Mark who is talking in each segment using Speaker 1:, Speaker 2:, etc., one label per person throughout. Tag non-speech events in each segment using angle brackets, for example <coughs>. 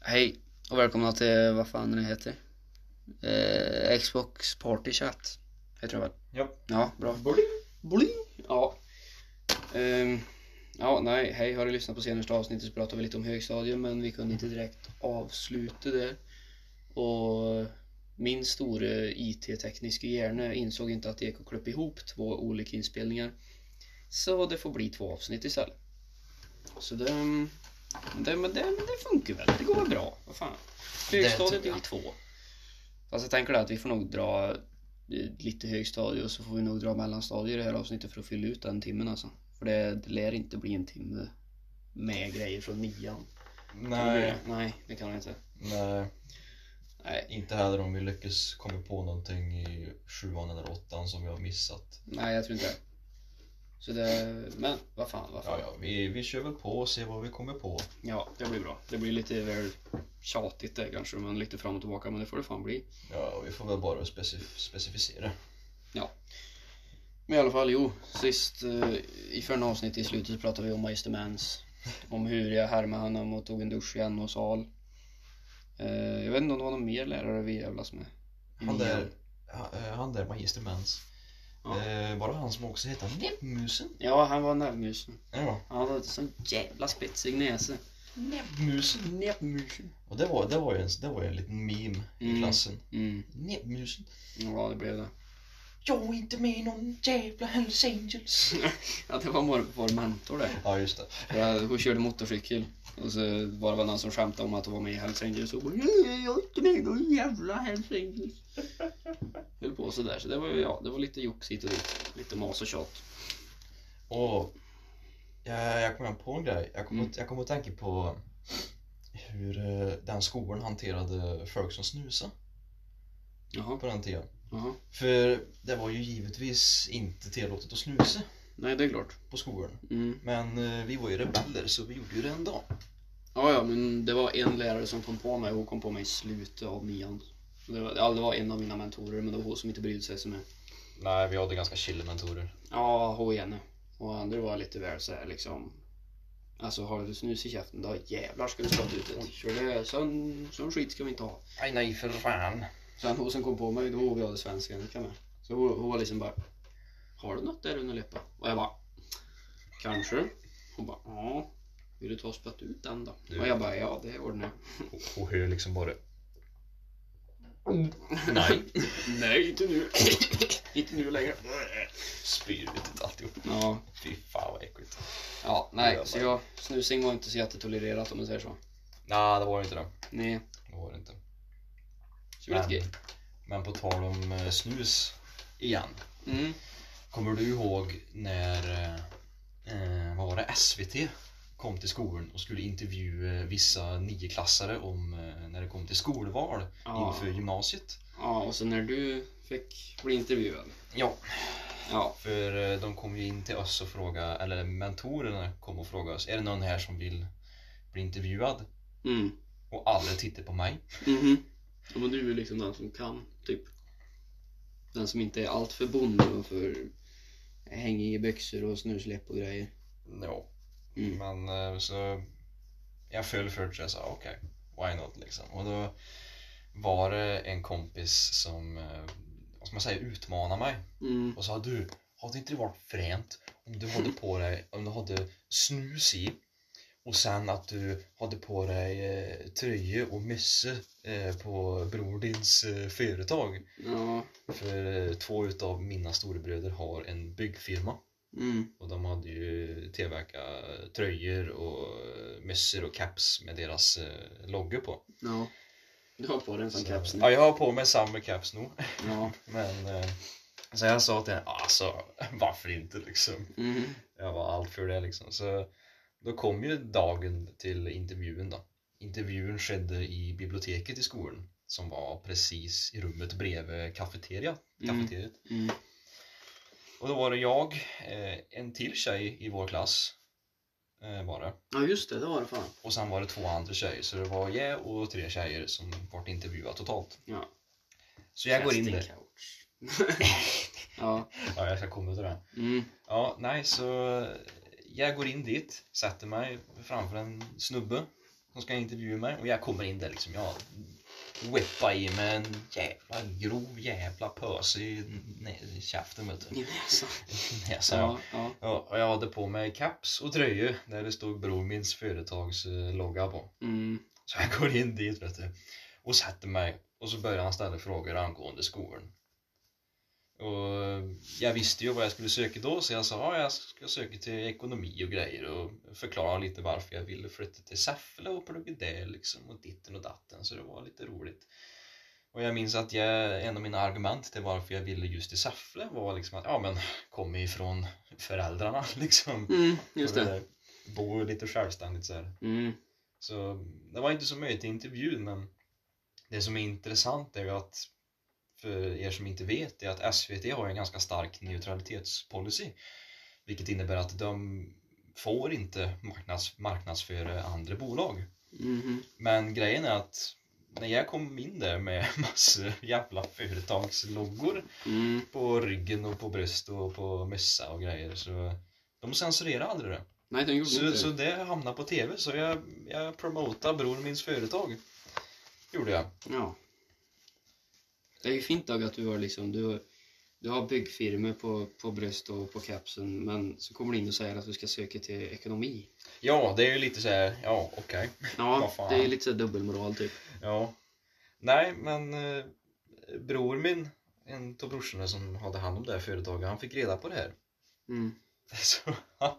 Speaker 1: Hej och välkomna till vad fan det heter. Eh, Xbox Party Chat. Heter det väl?
Speaker 2: Ja.
Speaker 1: Ja, bra. Bling! Ja. Ehm, ja, nej, hej. Har du lyssnat på senaste avsnittet så pratade vi lite om högstadiet men vi kunde inte direkt avsluta det. Och min store IT-tekniska hjärna insåg inte att det gick att klippa ihop två olika inspelningar. Så det får bli två avsnitt istället. Så det, det, men det, men det funkar väl, det går väl bra. Vad fan.
Speaker 2: Det
Speaker 1: Högstadiet
Speaker 2: tror jag.
Speaker 1: del två. Fast jag tänker att vi får nog dra eh, lite högstadie och så får vi nog dra mellanstadier i det här avsnittet för att fylla ut den timmen alltså. För det, det lär inte bli en timme med grejer från nian.
Speaker 2: Nej,
Speaker 1: Nej, det kan det inte.
Speaker 2: nej,
Speaker 1: Nej,
Speaker 2: inte heller om vi lyckas komma på någonting i sjuan eller åttan som vi har missat.
Speaker 1: nej jag tror inte det. Så det, men vad fan, vad
Speaker 2: Ja,
Speaker 1: fan.
Speaker 2: ja, vi, vi kör väl på och ser vad vi kommer på.
Speaker 1: Ja, det blir bra. Det blir lite väl tjatigt det kanske, men lite fram och tillbaka. Men det får det fan bli.
Speaker 2: Ja, vi får väl bara specif- specificera.
Speaker 1: Men i alla fall, jo. Sist eh, i förra avsnittet i slutet så pratade vi om Meister Mans. Om hur jag härmade honom och tog en dusch i NHs hal. Eh, jag vet inte om det var någon mer lärare vi jävlas med.
Speaker 2: Han där, ha- eh, han där magister Mens.
Speaker 1: Ja.
Speaker 2: Eh, bara han som också heter Näbbmusen.
Speaker 1: Ja, han var näbbmusen.
Speaker 2: Ja,
Speaker 1: Han hade en sån jävla spetsig näsa.
Speaker 2: Näbbmusen.
Speaker 1: Näbbmusen.
Speaker 2: Och det var, det var ju en, det var ju en liten meme
Speaker 1: Mm.
Speaker 2: i klassen.
Speaker 1: Mm,
Speaker 2: Näbbmusen.
Speaker 1: ja det blev det.
Speaker 2: Jag är inte med i någon jävla Hells <laughs> Angels.
Speaker 1: Ja, det var vår, vår mentor det.
Speaker 2: ja, just det.
Speaker 1: För jag- Hon körde motorcykel. Och så var det väl någon som skämtade om att hon var med i Hells Angels. Och hon bara, nej jag är inte med i någon jävla Hells Angels. Höll på sådär. Så det var, ju- ja, det var lite jox hit och dit. Lite mas och tjat.
Speaker 2: Och jag, jag kom på en grej. Jag kom,
Speaker 1: Mm.
Speaker 2: att, jag kom att tänka på hur eh, den skolan hanterade folk som snusade
Speaker 1: Jaha,
Speaker 2: på den tiden.
Speaker 1: jaha.
Speaker 2: För det var ju givetvis inte tillåtet att snusa
Speaker 1: Nej det är klart.
Speaker 2: på skolan.
Speaker 1: Mm.
Speaker 2: Men eh, vi var ju rebeller så vi gjorde ju det ändå.
Speaker 1: Ja, ja, men det var en lärare som kom på mig. Hon kom på mig i slutet av nian. Det var, ja, det var en av mina mentorer, men det var hon som inte brydde sig så mycket.
Speaker 2: Nej, vi hade ganska chilla mentorer.
Speaker 1: Ja, hon ene. Och andra var lite väl så här liksom. Alltså har du snus i käften, då jävlar ska du prata ut det. För det. Sån, sån skit ska vi inte ha.
Speaker 2: Nej, nej för fan.
Speaker 1: Sen hon som kom på mig, då var vi hade svenska Annika med. Så hon, hon var liksom bara Har du något där under läppen? Och jag bara Kanske. Hon bara ja. Vill du ta och spötta ut den då?
Speaker 2: Du.
Speaker 1: Och jag bara ja, det ordnar
Speaker 2: Och, och hur liksom bara...
Speaker 1: jag.
Speaker 2: Nej.
Speaker 1: Nej, inte nu. <laughs> inte nu längre.
Speaker 2: Spyr ut alltihop.
Speaker 1: Ja,
Speaker 2: Fy fan vad äckligt.
Speaker 1: ja nej. Så jag, snusing var inte så jättetolererat om man säger så.
Speaker 2: Nej, det var det inte det.
Speaker 1: Nej,
Speaker 2: Det var det inte.
Speaker 1: så det var lite gay.
Speaker 2: Men på tal om eh, snus igen.
Speaker 1: Mm.
Speaker 2: Kommer du ihåg när eh, eh, vad var det, SVT kom till skolan och skulle intervjua vissa nioklassare om eh, när det kom till skolval
Speaker 1: Ja.
Speaker 2: inför gymnasiet?
Speaker 1: Ja, och sen när du fick bli intervjuad.
Speaker 2: Ja,
Speaker 1: Ja.
Speaker 2: för eh, de kom ju in till oss och frågade, eller mentorerna kom och frågade oss, är det någon här som vill bli intervjuad?
Speaker 1: Mm.
Speaker 2: Och alla tittade på mig.
Speaker 1: Mhm. Ja, men du är liksom den som kan, typ. Den som inte är allt för bonde och för hängig i byxor och snusläpp och grejer.
Speaker 2: Ja,
Speaker 1: Mm.
Speaker 2: men eh, så jag föll för det så jag sa okej, why not liksom. Och då var det en kompis som, eh, vad ska man säga, utmanade mig.
Speaker 1: Mm.
Speaker 2: och sa du, hade inte det varit fränt om du hade på dig, om du hade snus i och sen att du hade på dig eh, tröja och mössa eh, på bror dins eh, företag.
Speaker 1: Ja.
Speaker 2: För eh, två utav mina storebröder har en byggfirma
Speaker 1: Mm.
Speaker 2: och de hade ju tillverkat tröjor och eh, mössor och caps med deras eh, logga på.
Speaker 1: Ja. Du har på dig en sån
Speaker 2: Så-
Speaker 1: keps nu.
Speaker 2: Ja, jag har på mig samma caps nu.
Speaker 1: Ja.
Speaker 2: <laughs> Men eh, så jag sa till henne, alltså <laughs> varför inte liksom.
Speaker 1: Mm.
Speaker 2: Jag var allt för det liksom. Så då kom ju dagen till intervjun då. Intervjun skedde i biblioteket i skolan som var precis i rummet bredvid kafeteria,
Speaker 1: Mm.
Speaker 2: kafeteriet.
Speaker 1: Mm.
Speaker 2: Och då var det jag, eh, en till tjej i vår klass eh, var det.
Speaker 1: Ja, just det. Det var det fan.
Speaker 2: Och sen var det två andra tjejer, så det var jag och tre tjejer som vart intervjuade totalt.
Speaker 1: Ja.
Speaker 2: Så jag går in
Speaker 1: Casting
Speaker 2: där.
Speaker 1: couch. <laughs> ja.
Speaker 2: Ja, jag ska komma till det.
Speaker 1: Mm.
Speaker 2: Ja, nej, så jag går in dit, sätter mig framför en snubbe som ska intervjua mig och jag kommer in där liksom. Jag whippar i mig en jävla grov jävla pös i, nä- i käften vet du.
Speaker 1: I näsan.
Speaker 2: Näsan ja.
Speaker 1: Ja, ja.
Speaker 2: Ja, och jag hade på mig caps och tröja där det stod Bror Minns företags eh, logga på.
Speaker 1: Mm.
Speaker 2: Så jag går in dit vet du, och sätter mig och så börjar han ställa frågor angående skolan. Och jag visste ju vad jag skulle söka då så jag sa ja, jag ska söka till ekonomi och grejer och förklara lite varför jag ville flytta till Säffle och plugga där liksom och ditten och datten så det var lite roligt. Och jag minns att jag, en av mina argument till varför jag ville just till Säffle var liksom att ja men kommer ifrån föräldrarna <laughs> liksom.
Speaker 1: Mm, just det.
Speaker 2: Bor lite självständigt så här.
Speaker 1: Mm.
Speaker 2: Så det var inte så möjligt i intervjun men det som är intressant är ju att för er som inte vet är att SVT har en ganska stark neutralitetspolicy vilket innebär att de får inte marknads, marknadsföra andra bolag.
Speaker 1: Mhm.
Speaker 2: Men grejen är att när jag kom in där med <laughs> massor jävla företagsloggor
Speaker 1: Mm.
Speaker 2: på ryggen och på bröst och på mössa och grejer så de censurerar aldrig det.
Speaker 1: Nej, den gjorde
Speaker 2: Så,
Speaker 1: inte
Speaker 2: så
Speaker 1: det.
Speaker 2: det hamnade på tv, så jag, jag promotade Bror Minns Företag. Gjorde jag.
Speaker 1: Ja. Det är ju fint Doug att du har liksom, du, du har byggfirmor på, på bröst och på kapseln men så kommer du in och säger att du ska söka till ekonomi.
Speaker 2: Ja, det är ju lite så här, ja okej.
Speaker 1: Ja, <laughs>
Speaker 2: Vad fan.
Speaker 1: det är lite så här dubbelmoral typ.
Speaker 2: Ja. Nej, men eh, bror min, en av brorsorna som hade hand om det här företaget, han fick reda på det här. <laughs>
Speaker 1: Mm. <laughs>
Speaker 2: Så han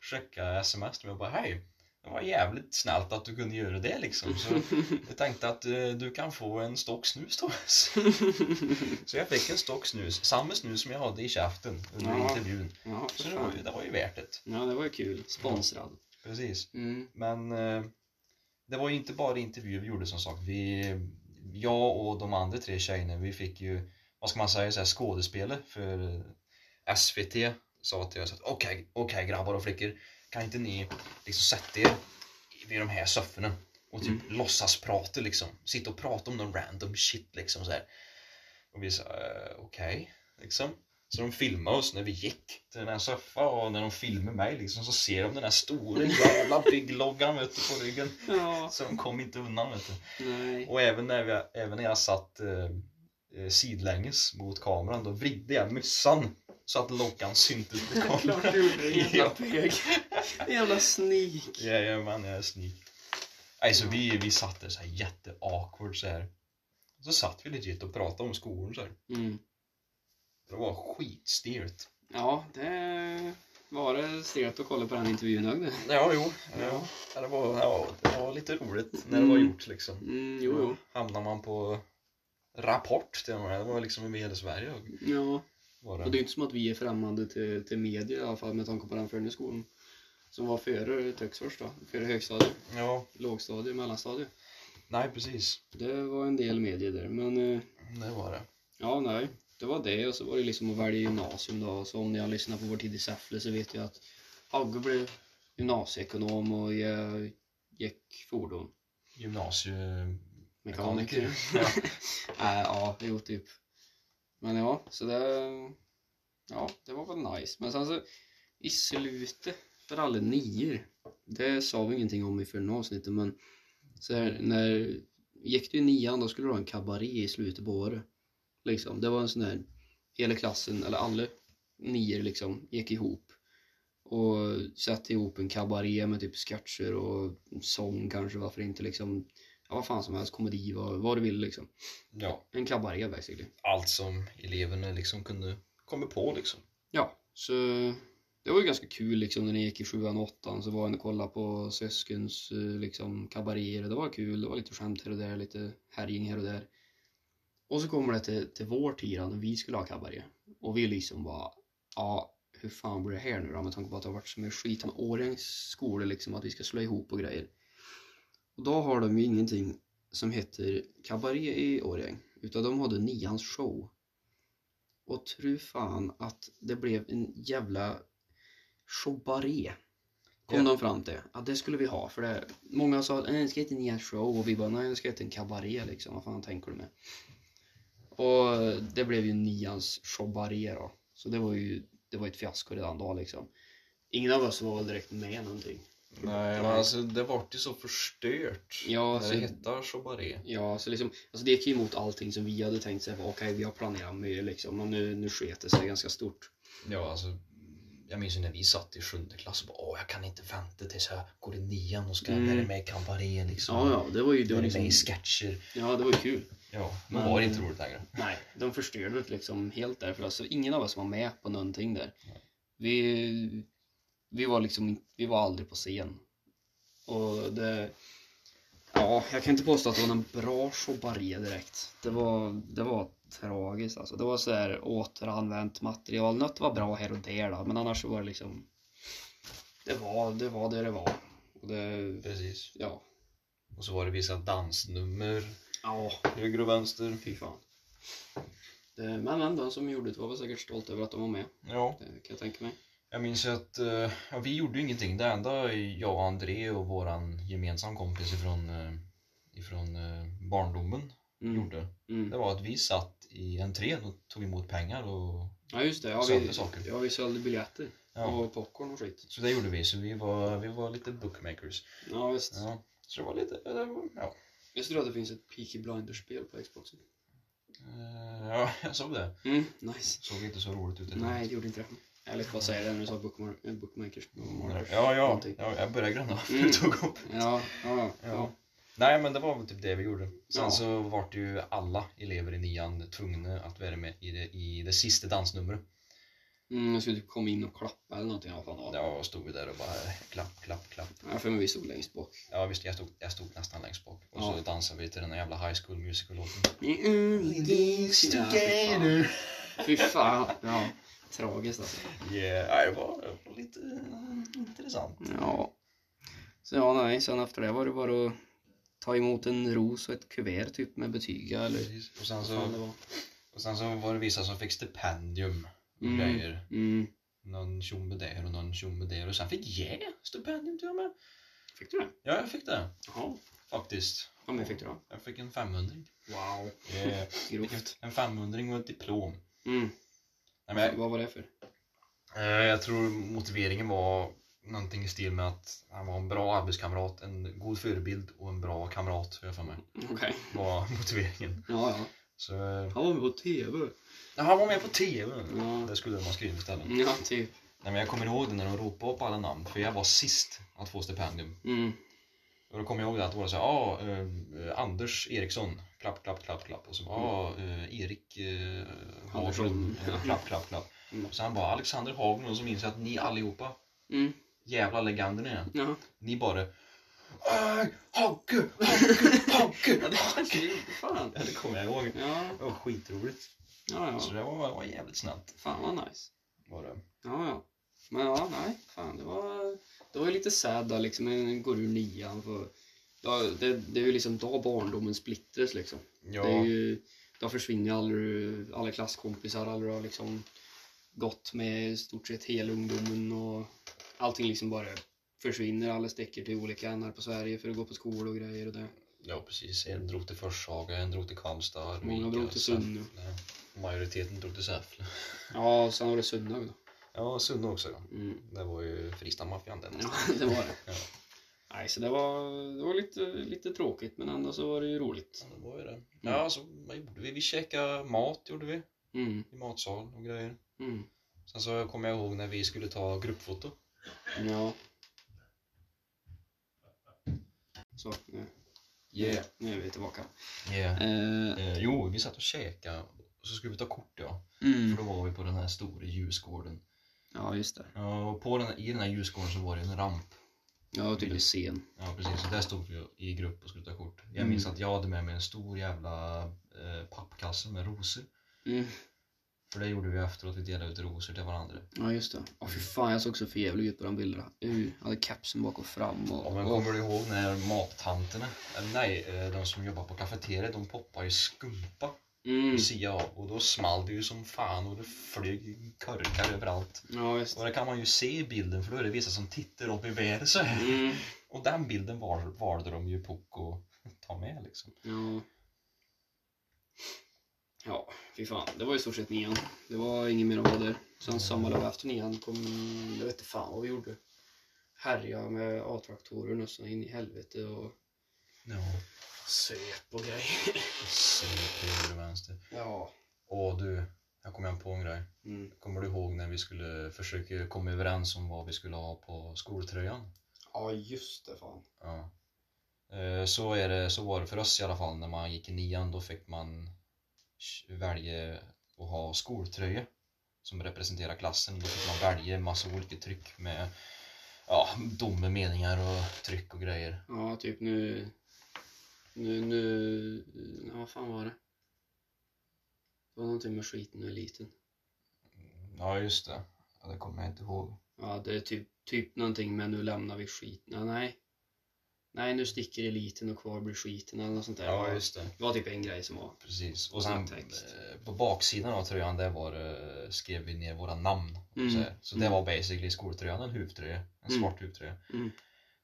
Speaker 2: skickade sms till mig och bara hej. Det var jävligt snällt att du kunde göra det liksom. Så jag tänkte att eh, du kan få en stock snus Thomas. <laughs> Så jag fick en stock snus, samma snus som jag hade i käften under
Speaker 1: Ja.
Speaker 2: intervjun.
Speaker 1: ja, för
Speaker 2: Så det var, ju,
Speaker 1: fan.
Speaker 2: det var ju värt det.
Speaker 1: Ja, det var ju kul. Sponsrad.
Speaker 2: Precis.
Speaker 1: Mm.
Speaker 2: Men eh, det var ju inte bara intervjuer vi gjorde som sagt. Vi, jag och de andra tre tjejerna, vi fick ju, vad ska man säga, så här skådespelare för eh, SVT sa till oss att okej, okej grabbar och flickor, kan inte ni liksom sätta er vid de här sofforna och typ låtsas prata liksom. Sitta och prata om någon random shit liksom så här. Och vi sa eh, okej, liksom. Så de filmade oss när vi gick till den här soffan och när de filmade mig liksom så ser de den här stora jävla byggloggan vet du, på ryggen.
Speaker 1: Ja,
Speaker 2: Så de kom inte undan vet du.
Speaker 1: nej.
Speaker 2: Och även när, vi, även när jag satt eh, eh, sidlänges mot kameran då vridde jag mössan så att loggan syntes på kameran.
Speaker 1: <laughs> Klart du gjorde <laughs> det, <laughs> jävla
Speaker 2: Ja.
Speaker 1: pög. Jävla snik.
Speaker 2: Jajamän, jag är sneak. Nej, så
Speaker 1: Ja.
Speaker 2: vi, vi satt där så här jätteawkward så här. Så satt vi legit och pratade om skolan så här.
Speaker 1: Mm.
Speaker 2: Det var skitstelt.
Speaker 1: Ja, det var det stelt att kolla på den intervjun Doug det.
Speaker 2: Ja, jo.
Speaker 1: Ja.
Speaker 2: Ja, det, var, ja, det var lite roligt när det var
Speaker 1: Mm.
Speaker 2: gjort liksom.
Speaker 1: Mm, jo, jo.
Speaker 2: Hamnar man på Rapport till och med. Det var liksom över hela Sverige. och-
Speaker 1: Ja. Och
Speaker 2: Var
Speaker 1: det är
Speaker 2: det.
Speaker 1: ju inte som att vi är främmande till, till media i alla fall med tanke på den föreningsskolan. Som var före Töcksfors då, före högstadiet,
Speaker 2: Ja,
Speaker 1: lågstadiet, mellanstadiet.
Speaker 2: nej precis.
Speaker 1: Det var en del medier där, men eh,
Speaker 2: Det var det.
Speaker 1: ja, nej. Det var det och så var det liksom att välja gymnasium då. Så om ni har lyssnat på vår tid i Säffle så vet jag att Agge blev gymnasieekonom och jag gick fordon.
Speaker 2: Gymnasiemekaniker. ja.
Speaker 1: Äh, ja, jo typ. Men ja, så det... Ja, det var väl nice. Men sen så i slutet för alla nior. Det sa vi ingenting om i förra avsnittet men så här, när gick du i nian då skulle du ha en kabaré i slutet på året. Liksom, det var en sån där hela klassen, eller alla nior liksom, gick ihop och satte ihop en kabaré med typ sketcher och sång kanske, varför inte liksom, ja vad fan som helst, komedi, vad, vad du vill liksom.
Speaker 2: ja,
Speaker 1: En kabaré basically.
Speaker 2: allt som eleverna liksom kunde komma på liksom.
Speaker 1: Ja, så det var ju ganska kul liksom när ni gick i sjuan och åttan så var jag och kollade på syskons eh, liksom kabaréer och det var kul, det var lite skämt här och där, lite härjing här och där. Och så kommer det till, till vår tid då, när vi skulle ha kabaré och vi liksom bara, ja hur fan blir det här nu då med tanke på att det har varit så mycket skit med Årjängs skolor liksom att vi ska slå ihop och grejer. Och då har de ju ingenting som heter kabaré i Årjäng utan de hade nians show. Och tro fan att det blev en jävla showbaré. Kom
Speaker 2: Ja.
Speaker 1: de fram till. Ja, det skulle vi ha. För det, många sa att "Nej, jag ska inte ner en show och vi bara nej, jag ska inte en kabaré liksom. Vad fan tänker du med? Och det blev ju nians showbaré då. Så det var ju det var ett fiasko redan då liksom. Ingen av oss var väl direkt med någonting.
Speaker 2: Nej, men alltså det alltså- vart ju så förstört.
Speaker 1: Ja,
Speaker 2: när
Speaker 1: så-
Speaker 2: det hettar så bara det.
Speaker 1: Ja, så liksom, alltså det gick ju emot allting som vi hade tänkt sig. Okej, vi har planerat mycket liksom, men nu, nu sket det sig ganska stort.
Speaker 2: Ja, alltså. Jag minns ju när vi satt i sjunde klass och bara åh, jag kan inte vänta tills jag går i nian och ska
Speaker 1: Mm.
Speaker 2: när det är med i kabaré liksom.
Speaker 1: Ja, ja, det var ju det
Speaker 2: När
Speaker 1: var
Speaker 2: det är med i
Speaker 1: liksom,
Speaker 2: sketcher.
Speaker 1: Ja, det var ju kul.
Speaker 2: Ja, nu
Speaker 1: Men-
Speaker 2: var det inte roligt längre.
Speaker 1: Nej, de förstörde det liksom helt där för oss. Så ingen av oss var med på någonting där.
Speaker 2: Nej.
Speaker 1: Vi, vi var liksom in- vi var aldrig på scen. Och det... Ja, jag kan inte påstå att det var en bra showbarré direkt. Det var, det var tragiskt alltså. Det var så här återanvänt material. Något var bra här och där då, men annars så var det liksom... Det var det var det, det var. Och det...
Speaker 2: Precis.
Speaker 1: Ja.
Speaker 2: Och så var det vissa dansnummer.
Speaker 1: Ja,
Speaker 2: Höger och vänster.
Speaker 1: fy fan. Det, men, men de som gjorde det var väl säkert stolta över att de var med.
Speaker 2: Ja.
Speaker 1: Det eh, kan jag tänka mig.
Speaker 2: Jag minns ju att eh, ja, vi gjorde ju ingenting. Det enda jag och André och våran gemensam kompis ifrån, eh, ifrån eh, barndomen gjorde, det
Speaker 1: Mm.
Speaker 2: var att vi satt i entrén och tog emot pengar och
Speaker 1: Ja just det, ja, vi,
Speaker 2: sålde saker.
Speaker 1: ja, vi sålde biljetter
Speaker 2: Ja.
Speaker 1: och popcorn och skit.
Speaker 2: Så det gjorde vi, så vi var, vi var lite bookmakers.
Speaker 1: Ja visst.
Speaker 2: Ja. Så det var lite, ja, det var, ja.
Speaker 1: Jag tror att det finns ett Peaky Blinders-spel på Xboxen.
Speaker 2: Eh, ja, jag såg det.
Speaker 1: Mm, nice.
Speaker 2: Såg inte så roligt ut.
Speaker 1: Nej, det gjorde inte det. Eller vad säger du när du sa bookmar- eh, bookmakers? bookmakers-
Speaker 2: Ja, ja,
Speaker 1: någonting.
Speaker 2: ja, jag började gröna för
Speaker 1: Mm.
Speaker 2: du <laughs> tog upp.
Speaker 1: Ja, ja,
Speaker 2: Ja.
Speaker 1: ja.
Speaker 2: Nej men det var väl typ det vi gjorde. Sen
Speaker 1: Mm. Ja.
Speaker 2: så vart ju alla elever i nian tvungna att vara med i det, i det sista dansnumret.
Speaker 1: Mm, jag skulle typ komma in och klappa eller någonting. Ja, fan, ja.
Speaker 2: Ja, och stod vi där och bara eh, klapp, klapp, klapp.
Speaker 1: Ja, för mig vi stod längst bak.
Speaker 2: Ja visst, jag stod, jag stod nästan längst bak. Och så
Speaker 1: Ja.
Speaker 2: dansade vi till den här jävla High School Musical-låten.
Speaker 1: Ja, fy fan. Fy fan. Ja, tragiskt alltså.
Speaker 2: Yeah, nej, det var det var lite eh, intressant.
Speaker 1: Ja. Så ja, nej, sen efter det var det bara att ta emot en ros och ett kuvert typ med betyg eller
Speaker 2: Och sen,
Speaker 1: vad fan det
Speaker 2: så,
Speaker 1: var.
Speaker 2: och sen så var det vissa som fick stipendium och
Speaker 1: Mm.
Speaker 2: grejer.
Speaker 1: Mm.
Speaker 2: Någon tjomme där och någon tjomme där. Och sen fick jag stipendium till och med.
Speaker 1: Fick du det?
Speaker 2: Ja, jag fick det
Speaker 1: Jaha.
Speaker 2: faktiskt.
Speaker 1: Ja, men fick du det?
Speaker 2: Jag fick en 500 <laughs>
Speaker 1: Wow. Grovt.
Speaker 2: En 500 och ett diplom.
Speaker 1: Mm.
Speaker 2: Nej, men
Speaker 1: Vad var det för?
Speaker 2: jag, eh, jag tror motiveringen var någonting i stil med att han var en bra arbetskamrat, en god förebild och en bra kamrat, har jag för mig.
Speaker 1: Okej.
Speaker 2: var <laughs> motiveringen.
Speaker 1: Ja, ja.
Speaker 2: Så, eh,
Speaker 1: Han var med på TV.
Speaker 2: ja, han var med på TV.
Speaker 1: Ja.
Speaker 2: Det skulle de ha skrivit istället.
Speaker 1: Ja, typ.
Speaker 2: Nej, men jag kommer ihåg det när de ropade upp alla namn, för jag var sist att få stipendium.
Speaker 1: Mm.
Speaker 2: Och då kommer jag ihåg det att det var så här, ah, eh, eh, Anders Eriksson, klapp, klapp, klapp, klapp. Och så bara, ah, eh, Erik eh, Haglund,
Speaker 1: Andersson.
Speaker 2: eh, klapp, klapp, klapp.
Speaker 1: Mm.
Speaker 2: Och sen bara Alexander Haglund och så minns jag att ni allihopa,
Speaker 1: Mm.
Speaker 2: jävla legender ni är,
Speaker 1: Ja.
Speaker 2: ni bara "Äh, Hagge, Hagge,
Speaker 1: <laughs>
Speaker 2: Hagge, Hagge.
Speaker 1: Fan.
Speaker 2: Ja, det kommer jag ihåg.
Speaker 1: Ja,
Speaker 2: Det var skitroligt.
Speaker 1: ja,
Speaker 2: Så
Speaker 1: ja.
Speaker 2: det var, var jävligt snällt.
Speaker 1: Fan vad nice.
Speaker 2: Var det.
Speaker 1: Ja, ja. Men ja, nej. Fan, det var, det var ju lite sad där liksom. En går ur nian. För, ja, det, det är ju liksom då barndomen splittras liksom.
Speaker 2: Ja,
Speaker 1: Det är ju, då försvinner ju alla, alla klasskompisar, alla har liksom gått med i stort sett hela ungdomen och allting liksom bara försvinner. Alla sticker till olika ändar på Sverige för att gå på skolor och grejer och det.
Speaker 2: ja, precis. En drog till Forshaga, en drog till Karlstad,
Speaker 1: Många
Speaker 2: Arvika,
Speaker 1: drog till Sunne.
Speaker 2: Säffle. Majoriteten drog till Säffle.
Speaker 1: Ja, och sen var det Sunne då.
Speaker 2: Ja, Sunne också. ja.
Speaker 1: Mm.
Speaker 2: Det var ju Fristadmaffian den.
Speaker 1: Ja, <laughs> det var det.
Speaker 2: Ja.
Speaker 1: Nej, så det var, det var lite, lite tråkigt men ändå så var det ju roligt.
Speaker 2: Det var ju det. Ja, så vad gjorde vi? Vi käkade mat, gjorde vi.
Speaker 1: Mm,
Speaker 2: I matsal och grejer.
Speaker 1: mm.
Speaker 2: Sen så kommer jag ihåg när vi skulle ta gruppfoto.
Speaker 1: Ja. Så, nu, nu är vi tillbaka.
Speaker 2: Yeah.
Speaker 1: Eh,
Speaker 2: Eh, jo, vi satt och käkade och så skulle vi ta kort ja.
Speaker 1: mm.
Speaker 2: För då var vi på den här stora ljusgården.
Speaker 1: Ja, just det.
Speaker 2: Ja, och på den, i den här ljusgården så var det en ramp.
Speaker 1: Ja, typ en scen.
Speaker 2: Ja, precis. Så där stod vi i grupp och skulle ta kort. Jag minns att jag hade med mig en stor jävla eh, pappkasse med rosor.
Speaker 1: Mm.
Speaker 2: För det gjorde vi efteråt. Vi delade ut rosor till varandra.
Speaker 1: Ja, just det. Åh, fy fan, jag såg så förjävlig ut på de bilderna. Uh, jag hade kapsen bak och fram och...
Speaker 2: Ja, men kommer du ihåg när mattanterna, eller nej, eh, de som jobbar på kafeteriet, de poppar ju skumpa
Speaker 1: Mm.
Speaker 2: i sidan av och då small det ju som fan och det flög korkar överallt.
Speaker 1: Ja, visst.
Speaker 2: Och det kan man ju se i bilden för då är det vissa som tittar upp i vädret så här.
Speaker 1: Mm.
Speaker 2: Och den bilden var, valde de ju Poco att ta med liksom.
Speaker 1: Ja. Ja, fy fan. Det var i stort sett nian. Det var ingen mer att vara där. Sen samma dag efter nian kom... Jag vet inte fan vad vi gjorde. härja med A-traktorer nästan in i helvete och
Speaker 2: Ja.
Speaker 1: söp och <laughs> grejer.
Speaker 2: Så höger och vänster.
Speaker 1: Ja.
Speaker 2: Åh du, jag kom igen på en grej.
Speaker 1: Mm.
Speaker 2: Kommer du ihåg när vi skulle försöka komma överens om vad vi skulle ha på skoltröjan?
Speaker 1: Ja, just det fan.
Speaker 2: Ja. Eh, Så, är det, så var det för oss i alla fall när man gick i nian. Då fick man sh- välja att ha skoltröja som representerar klassen. Då fick man välja en massa olika tryck med ja, dumma meningar och tryck och grejer.
Speaker 1: Ja, typ nu... Nu, nu... Ja, vad fan var det? Det var någonting med skiten och eliten.
Speaker 2: Ja just det, ja, det kommer jag inte ihåg.
Speaker 1: Ja, det är typ, typ någonting med nu lämnar vi skiten. Ja, nej. Nej, nu sticker eliten och kvar blir skiten eller något sånt där.
Speaker 2: Ja just det.
Speaker 1: Det var typ en grej som var.
Speaker 2: Precis, och sen
Speaker 1: Text.
Speaker 2: eh, på baksidan av tröjan där var, det- skrev vi ner våra namn.
Speaker 1: Mm,
Speaker 2: Så, här. så det
Speaker 1: mm.
Speaker 2: var basically skoltröjan, en huvtröja, en
Speaker 1: Mm.
Speaker 2: svart huvtröja.
Speaker 1: Mm.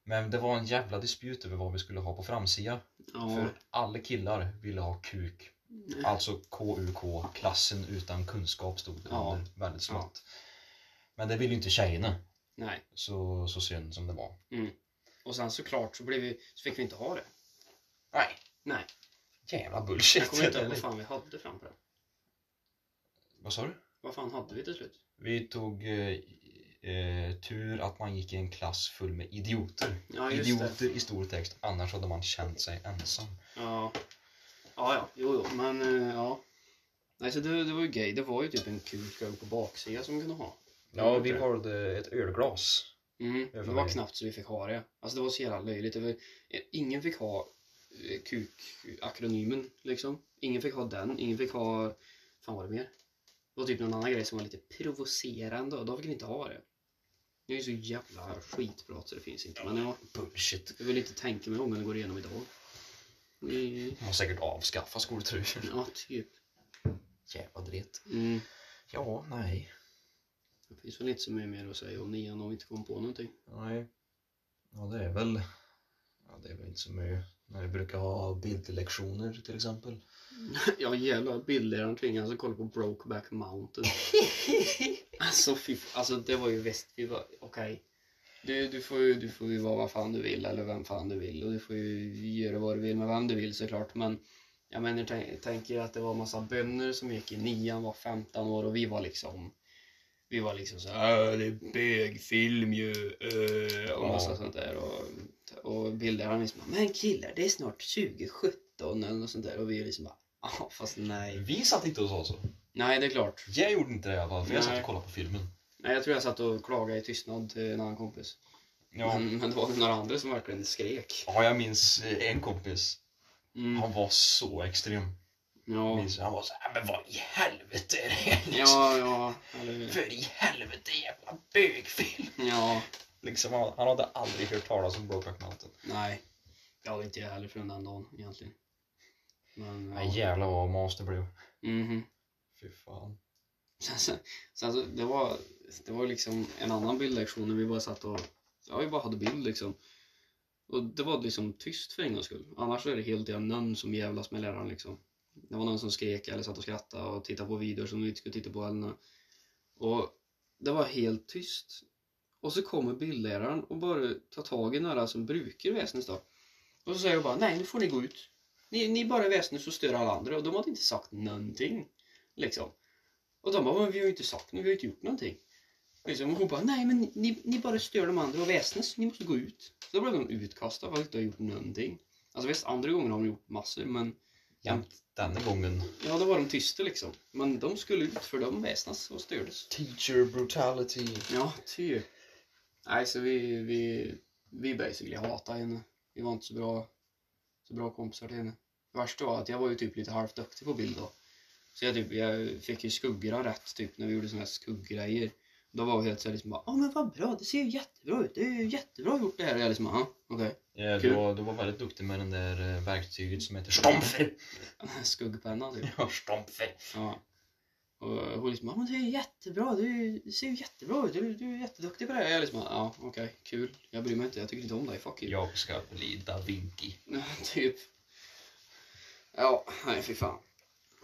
Speaker 2: Men det var en jävla dispyt över vad vi skulle ha på framsidan.
Speaker 1: Ja. Mm.
Speaker 2: För alla killar ville ha kuk. Alltså KUK, klassen utan kunskap stod det
Speaker 1: Ja.
Speaker 2: under väldigt smått. Men det ville ju inte tjejerna,
Speaker 1: Nej.
Speaker 2: så, så synd som det var.
Speaker 1: Och sen såklart så, blev vi, så fick vi inte ha det.
Speaker 2: Nej,
Speaker 1: Nej.
Speaker 2: jävla bullshit.
Speaker 1: Jag kommer inte ihåg vad fan vi hade fram på det.
Speaker 2: Vad sa du?
Speaker 1: Vad fan hade vi till slut?
Speaker 2: Vi tog eh, eh, tur att man gick i en klass full med idioter.
Speaker 1: Ja, just det.
Speaker 2: idioter i stor text, annars hade man känt sig ensam.
Speaker 1: Ja. Ja, ja. Jo, jo. Men, eh, ja. Nej, så det, det var ju gay. Det var ju typ en kuk över på baksidan som vi kunde ha.
Speaker 2: Ja, vi valde ett ölglas.
Speaker 1: Mm.
Speaker 2: Ja,
Speaker 1: Det
Speaker 2: för
Speaker 1: var
Speaker 2: mig.
Speaker 1: knappt så vi fick ha det. Alltså det var så jävla löjligt. Det var, eh, ingen fick ha eh, kuk-akronymen liksom. Ingen fick ha den. Ingen fick ha... Fan var det mer? Det var typ någon annan grej som var lite provocerande och då fick ni inte ha det. Det är ju så jävla skitprat så det finns inte. Men ja,
Speaker 2: Bullshit.
Speaker 1: jag vill inte tänka mig om när det går igenom idag. Mm,
Speaker 2: Man har säkert avskaffat skoltröjor.
Speaker 1: Ja, typ.
Speaker 2: Jävla dret.
Speaker 1: Mm.
Speaker 2: Ja, nej.
Speaker 1: Det finns väl inte så mycket mer att säga om nian om vi inte kom på någonting.
Speaker 2: Nej. Ja, det är väl... Ja, det är väl inte så mycket. När vi brukar ha bildlektioner till exempel.
Speaker 1: <laughs> Jag jävla bildläraren tvingades att alltså kolla på Brokeback Mountain. Alltså fy f- alltså det var ju väst, vi var, okej. Du, du, får ju, du får ju vara vad fan du vill eller vem fan du vill och du får ju göra vad du vill med vem du vill såklart men jag menar tänk, tänk er att det var en massa bönder som gick i nian, var 15 år och vi var liksom vi var liksom så här, "Äh, det är bögfilm ju äh, och massa
Speaker 2: Ja.
Speaker 1: sånt där och, och bildläraren liksom bara, men killar det är snart 2017 eller något sånt där och vi är liksom bara ja fast nej.
Speaker 2: Vi satt inte och sa så.
Speaker 1: Nej det är klart.
Speaker 2: Jag gjorde inte det i alla fall, för jag satt
Speaker 1: Nej.
Speaker 2: och kollade på filmen.
Speaker 1: Nej, jag tror jag satt och klagade i tystnad till en annan kompis.
Speaker 2: Mm.
Speaker 1: Men, men det var några andra som verkligen skrek.
Speaker 2: Ja, jag minns eh, en kompis.
Speaker 1: Mm.
Speaker 2: Han var så extrem. Jag
Speaker 1: Ja,
Speaker 2: minns, han var så här, "Äh, men vad i helvete är det här liksom?
Speaker 1: ja, ja. Eller,
Speaker 2: För i helvete jävla bögfilm!
Speaker 1: ja,
Speaker 2: Liksom, han, han hade aldrig hört talas om Brokeback Mountain.
Speaker 1: nej. Jag hade inte jag heller från den dagen egentligen. Men,
Speaker 2: Nej
Speaker 1: ja.
Speaker 2: jävlar vad mas det blev.
Speaker 1: Mhm.
Speaker 2: Fy fan.
Speaker 1: <laughs> Sen, sen, sen så, alltså, det var det var liksom en annan bildlektion när vi bara satt och, ja vi bara hade bild liksom. Och det var liksom tyst för en gångs skull. Annars är det helt jävla någon som jävlas med läraren liksom. Det var någon som skrek eller satt och skrattade och tittade på videor som vi inte skulle titta på eller nå- Och det var helt tyst. Och så kommer bildläraren och bara tar tag i några som brukar väsnas då. Och så säger jag bara, nej nu får ni gå ut. Ni, ni bara väsnas och stör alla andra och de hade inte sagt någonting. Liksom. Och de bara, men vi har ju inte sagt något, vi har ju inte gjort någonting. Liksom, och hon bara, nej men ni, ni bara stör de andra och väsnas, ni måste gå ut. Så då blev de utkastade för att de inte har gjort någonting. Alltså visst, andra gånger har de gjort massor men
Speaker 2: Jämt denna gången.
Speaker 1: ja, då var de tysta liksom. Men de skulle ut för de väsnas och stördes.
Speaker 2: Teacher brutality.
Speaker 1: Ja, typ. Nej, så vi, vi, vi basically hatade henne. Vi var inte så bra, så bra kompisar till henne. Det värsta var att jag var ju typ lite halvt duktig på bild då. Så jag, typ, jag fick ju skuggorna rätt typ när vi gjorde såna här skugggrejer. Då var jag helt såhär liksom bara ja men vad bra, det ser ju jättebra ut, det är ju jättebra gjort det här. Och jag liksom ja, okej.
Speaker 2: Ja, du,
Speaker 1: Kul.
Speaker 2: var, du var väldigt duktig med den där eh, verktyget som heter Stompfer.
Speaker 1: Skuggpenna typ.
Speaker 2: Ja, Stompfer.
Speaker 1: Ja. Och hon liksom ja men det är ju jättebra, du det ser ju jättebra ut, du, du är jätteduktig på det här. Jag liksom ja okej, kul. Jag bryr mig inte, jag tycker inte om dig, fuck you.
Speaker 2: Jag ska bli Da Vinci.
Speaker 1: Ja, <laughs> typ. Ja, nej fy fan.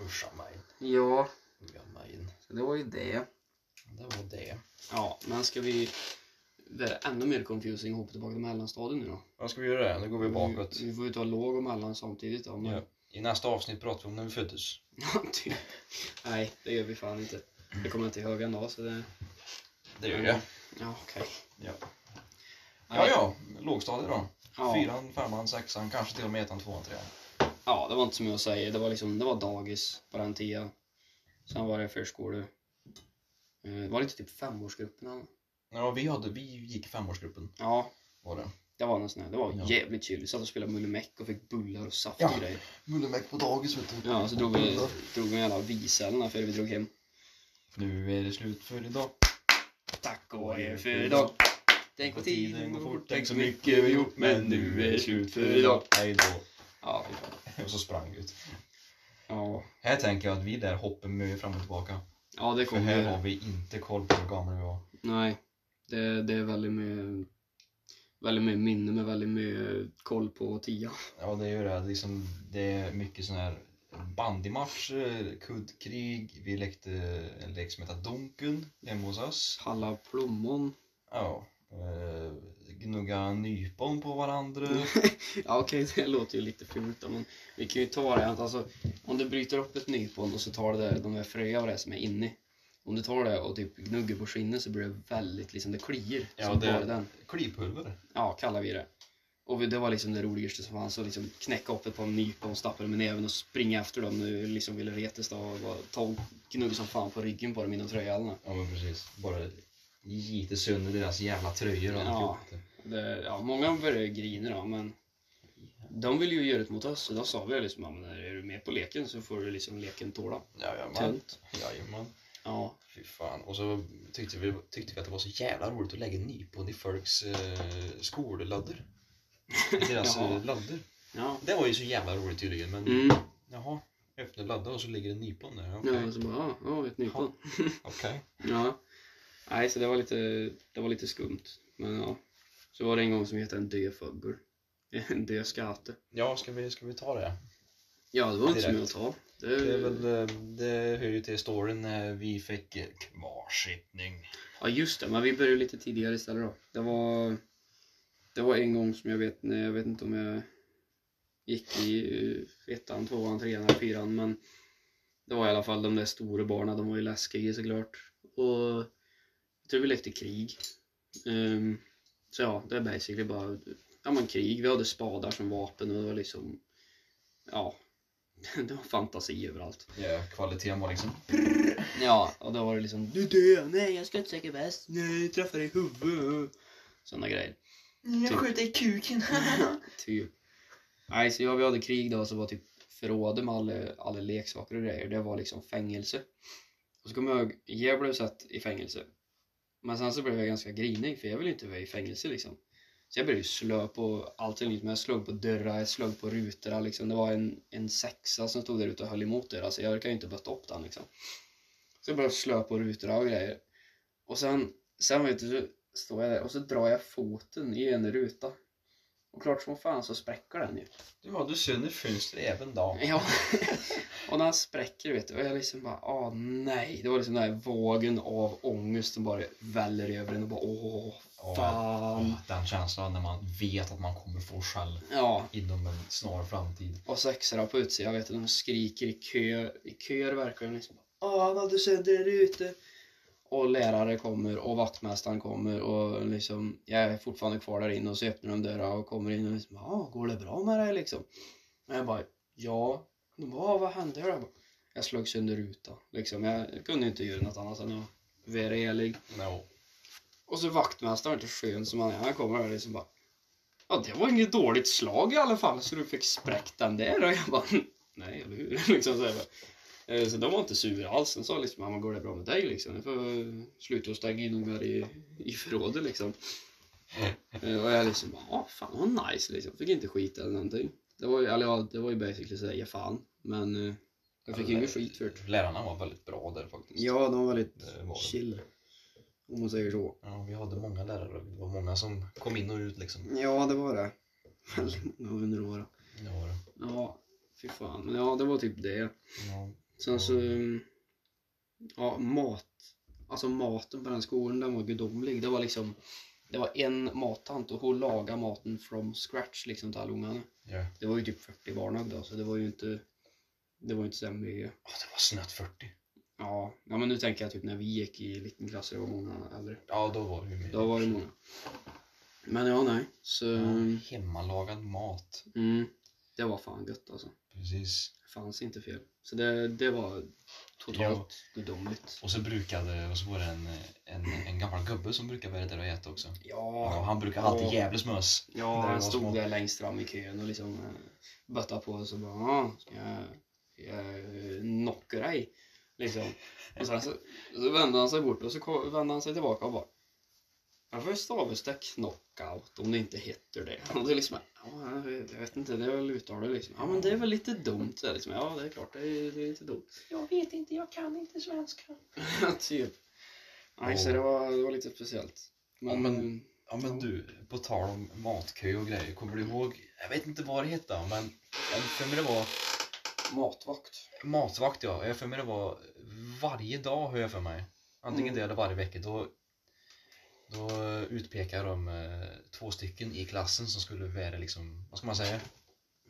Speaker 2: Usha mig.
Speaker 1: Ja,
Speaker 2: Uja mig.
Speaker 1: så det var ju det.
Speaker 2: Det var det.
Speaker 1: Ja, men ska vi det är ännu mer confusing att hoppa tillbaka till mellanstadiet nu då.
Speaker 2: Ja, ska vi göra det? Nu går vi bakåt.
Speaker 1: Vi, vi får ju ta låg och mellan samtidigt då. Men...
Speaker 2: Ja. I nästa avsnitt pratar vi om när vi föddes.
Speaker 1: <laughs> typ. Nej, det gör vi fan inte. Det kommer jag inte ihåg en dag så det...
Speaker 2: Det gör jag.
Speaker 1: Ja, okej.
Speaker 2: Ja. Ja,
Speaker 1: Nej.
Speaker 2: ja. Lågstadiet då.
Speaker 1: Ja.
Speaker 2: Fyran, femman, sexan, kanske till och med ettan, tvåan, trean.
Speaker 1: Ja, det var inte som jag säger. Det var liksom, det var dagis på den tiden. Sen var det förskola. Eh, Det var lite typ femårsgruppen
Speaker 2: Ja, vi, hade, vi gick i femårsgruppen
Speaker 1: Ja,
Speaker 2: var det.
Speaker 1: det var någon sån här. Det var
Speaker 2: Ja.
Speaker 1: jävligt chill. Vi satt och spelade Mulle Meck och fick bullar och saft
Speaker 2: Ja.
Speaker 1: och grejer.
Speaker 2: Mullemäck på dagis vet du.
Speaker 1: Ja, så drog vi, drog vi alla visellerna för vi drog hem.
Speaker 2: Nu är det slut för idag.
Speaker 1: Tack och adjö för idag. Tänk vad tiden går fort, tänk så mycket vi gjort, men nu är det slut för idag.
Speaker 2: Hej då.
Speaker 1: Ja, fy fan.
Speaker 2: Och så sprang vi ut.
Speaker 1: Ja,
Speaker 2: Här tänker jag att vi där hoppar mycket fram och tillbaka.
Speaker 1: ja det
Speaker 2: För här har
Speaker 1: kommer.
Speaker 2: vi inte koll på hur gamla vi var.
Speaker 1: Nej, det, det är väldigt mycket, väldigt mycket minne med väldigt mycket koll på tia.
Speaker 2: Ja, det gör det. Liksom, det är mycket sån här bandymatcher, kuddkrig, vi lekte en lek som heter Donken hemma hos oss.
Speaker 1: Palla plommon.
Speaker 2: Ja. eh, Gnugga nypon på varandra.
Speaker 1: Ja okej, <laughs> det låter ju lite fult då, men vi kan ju ta det att alltså om du bryter upp ett nypon och så tar du det, de där fröa och det som är inne i. Om du tar det och typ gnuggar på skinnet så blir det väldigt liksom, det kliar.
Speaker 2: Ja,
Speaker 1: som
Speaker 2: det-
Speaker 1: bara den.
Speaker 2: Klipulver.
Speaker 1: Ja, kallar vi det. Och vi- det var liksom det roligaste som fanns att liksom knäcka upp ett par nypon, stappa dem med näven och springa efter dem när vi liksom ville retas då och bara ta och gnugga som fan på ryggen på dem innan tröjhallarna.
Speaker 2: Ja, men precis. Bara gita sönder deras jävla tröjor och
Speaker 1: Ja.
Speaker 2: alltihop.
Speaker 1: Det- Ja, många började grina då, men de ville ju göra det mot oss så då sa vi liksom att är du med på leken så får du liksom leken tåla.
Speaker 2: Jajamän.
Speaker 1: Tönt.
Speaker 2: Jajamän.
Speaker 1: Ja,
Speaker 2: Fy fan. Och så tyckte vi, tyckte vi att det var så jävla roligt att lägga nypon i folks eh, skolladdor. I deras
Speaker 1: Jaha.
Speaker 2: eh, laddor.
Speaker 1: ja.
Speaker 2: Det var ju så jävla roligt tydligen, men
Speaker 1: Mm.
Speaker 2: jaha. Öppna ladda och så ligger det en nypon där. Okej.
Speaker 1: Ja, så bara, ja, ja, ett nypon.
Speaker 2: Okej.
Speaker 1: Ja. Nej, så det var lite, det var lite skumt. Men ja. Så var det en gång som hette en död fågel. <laughs> En död skate.
Speaker 2: Ja, ska vi, ska vi ta det?
Speaker 1: Ja, det var inte som jag
Speaker 2: Direkt.
Speaker 1: sa.
Speaker 2: Det,
Speaker 1: Det,
Speaker 2: är väl, eh, det hör ju till storyn när vi fick eh, kvarsittning.
Speaker 1: Ja, just det. Men vi började lite tidigare istället då. Det var, det var en gång som jag vet, när jag vet inte om jag gick i eh, ettan, tvåan, trean eller fyran. Men det var i alla fall de där stora barnen. De var ju läskiga såklart. Och jag tror vi lekte krig. Ehm, så ja, det är basically bara ja, men krig. Vi hade spadar som vapen och det var liksom, ja, <laughs> det var fantasi överallt.
Speaker 2: Ja, kvaliteten var liksom...
Speaker 1: <laughs> Ja, och då var det liksom Du dör, nej jag ska inte säkra väst, nej träffa dig i huvudet Sådana grejer,
Speaker 2: Jag
Speaker 1: Typ.
Speaker 2: skjuter i kuken. <laughs>
Speaker 1: typ Nej, så jag vi hade krig då så var typ förrådet med alla, alla leksaker och grejer, det var liksom fängelse Och så kommer jag ihåg, jag blev satt i fängelse Men sen så blev jag ganska grinig för jag ville inte vara i fängelse liksom Så jag började ju slå på allt jag liksom, jag slog på dörrar, jag slog på rutorna liksom Det var en, en sexa som stod där ute och höll emot det, alltså jag orkade ju inte bötta upp den liksom Så jag började slå på rutorna och grejer Och sen, sen vet du, så står jag där och så drar jag foten i en ruta och klart som fan så spräcker den ju.
Speaker 2: Du hade sönder fönstret även då.
Speaker 1: <laughs> Ja. och när han spräcker vet du, och jag liksom bara, åh nej. Det var liksom den här vågen av ångest som bara väller över en och bara, åh
Speaker 2: Ja,
Speaker 1: fan.
Speaker 2: Ja, Den känslan när man vet att man kommer få skäll
Speaker 1: Ja,
Speaker 2: inom en snar framtid.
Speaker 1: och sexorna på utsidan, jag vet att de skriker i kö, i köer verkligen liksom, åh han hade sönder en ute. Och lärare kommer och vaktmästaren kommer och liksom, jag är fortfarande kvar där inne och så öppnar de dörrar och kommer in och liksom, ja går det bra med dig liksom? Och jag bara, ja. De bara, "Ja, vad hände då? Jag, bara, jag slog sönder rutan liksom, jag kunde inte göra något annat än att vara ärlig.
Speaker 2: No.
Speaker 1: Och så vaktmästaren, inte skön som han är, han kommer och liksom bara Ja, det var inget dåligt slag i alla fall så du fick spräckt den där och jag bara <laughs> Nej, eller hur? <laughs> liksom så, här bara. Eh, så de var inte sura alls. De sa liksom, mamma går det bra med dig liksom? Du får eh, sluta och stänga in ungar i, i förrådet liksom. Eh, Och jag liksom bara, ja fan vad nice liksom. Fick inte skit eller någonting. Det var ju, eller ja, det var ju basically sådär, ja fan. Men eh, jag fick ju ingen skit för det.
Speaker 2: Lärarna var väldigt bra där faktiskt.
Speaker 1: Ja, de var väldigt
Speaker 2: Det var det.
Speaker 1: chill. Om man säger så.
Speaker 2: Ja, vi hade många lärare. Det var många som kom in och
Speaker 1: <laughs>
Speaker 2: ut liksom.
Speaker 1: Ja, det var det. Väldigt många under åren.
Speaker 2: Det var det.
Speaker 1: Ja, fy fan. Men ja, det var typ det.
Speaker 2: Ja.
Speaker 1: Sen så, mm, ja, mat. Alltså maten på den skolan, den var gudomlig. Det var liksom, Det var en mattant och hon lagade maten from scratch liksom till alla ungarna.
Speaker 2: Ja.
Speaker 1: Det var ju typ 40 barn då, så det var ju inte det var ju inte så här mycket.
Speaker 2: Ja, det var snett 40.
Speaker 1: Ja, ja, men nu tänker jag typ när vi gick i liten klass, det var många äldre.
Speaker 2: Ja, då var det ju mer.
Speaker 1: Då var det eh, många. Men ja, nej. Så,
Speaker 2: Ja, hemmalagad mat.
Speaker 1: mm, det var fan gött alltså.
Speaker 2: Precis.
Speaker 1: Det fanns inte fel. Så det, det var totalt gudomligt.
Speaker 2: Och så brukade, och så var det en, en, en gammal gubbe som brukade vara där och äta också. Ja, och
Speaker 1: Ja,
Speaker 2: han brukade alltid
Speaker 1: Ja.
Speaker 2: jävligt mös.
Speaker 1: ja
Speaker 2: När vi var
Speaker 1: han
Speaker 2: små.
Speaker 1: stod där längst fram i kön och liksom eh, böttade på oss och bara ja, ska jag, ska jag eh, knocka dig? Liksom. Och sen så, så vände han sig bort och så ko- vände han sig tillbaka och bara varför stavas det knockout om det inte heter det? <laughs> Och det är liksom, ja, jag vet inte, det är väl uttalet liksom. Ja men det är väl lite dumt det liksom. Ja det är klart, det är, det är lite dumt.
Speaker 2: Jag vet inte, jag kan inte svenska.
Speaker 1: <laughs> typ. Nej, så det var, det var lite speciellt. Men,
Speaker 2: Ja, men- Ja men du, på tal om matkö och grejer, kommer du ihåg? Jag vet inte vad det hette, men jag för mig det var
Speaker 1: matvakt.
Speaker 2: matvakt ja. Jag för mig det var varje dag har jag för mig. Antingen
Speaker 1: Mm.
Speaker 2: det eller varje vecka. Då, då utpekar de eh, två stycken i klassen som skulle vara liksom, vad ska man säga?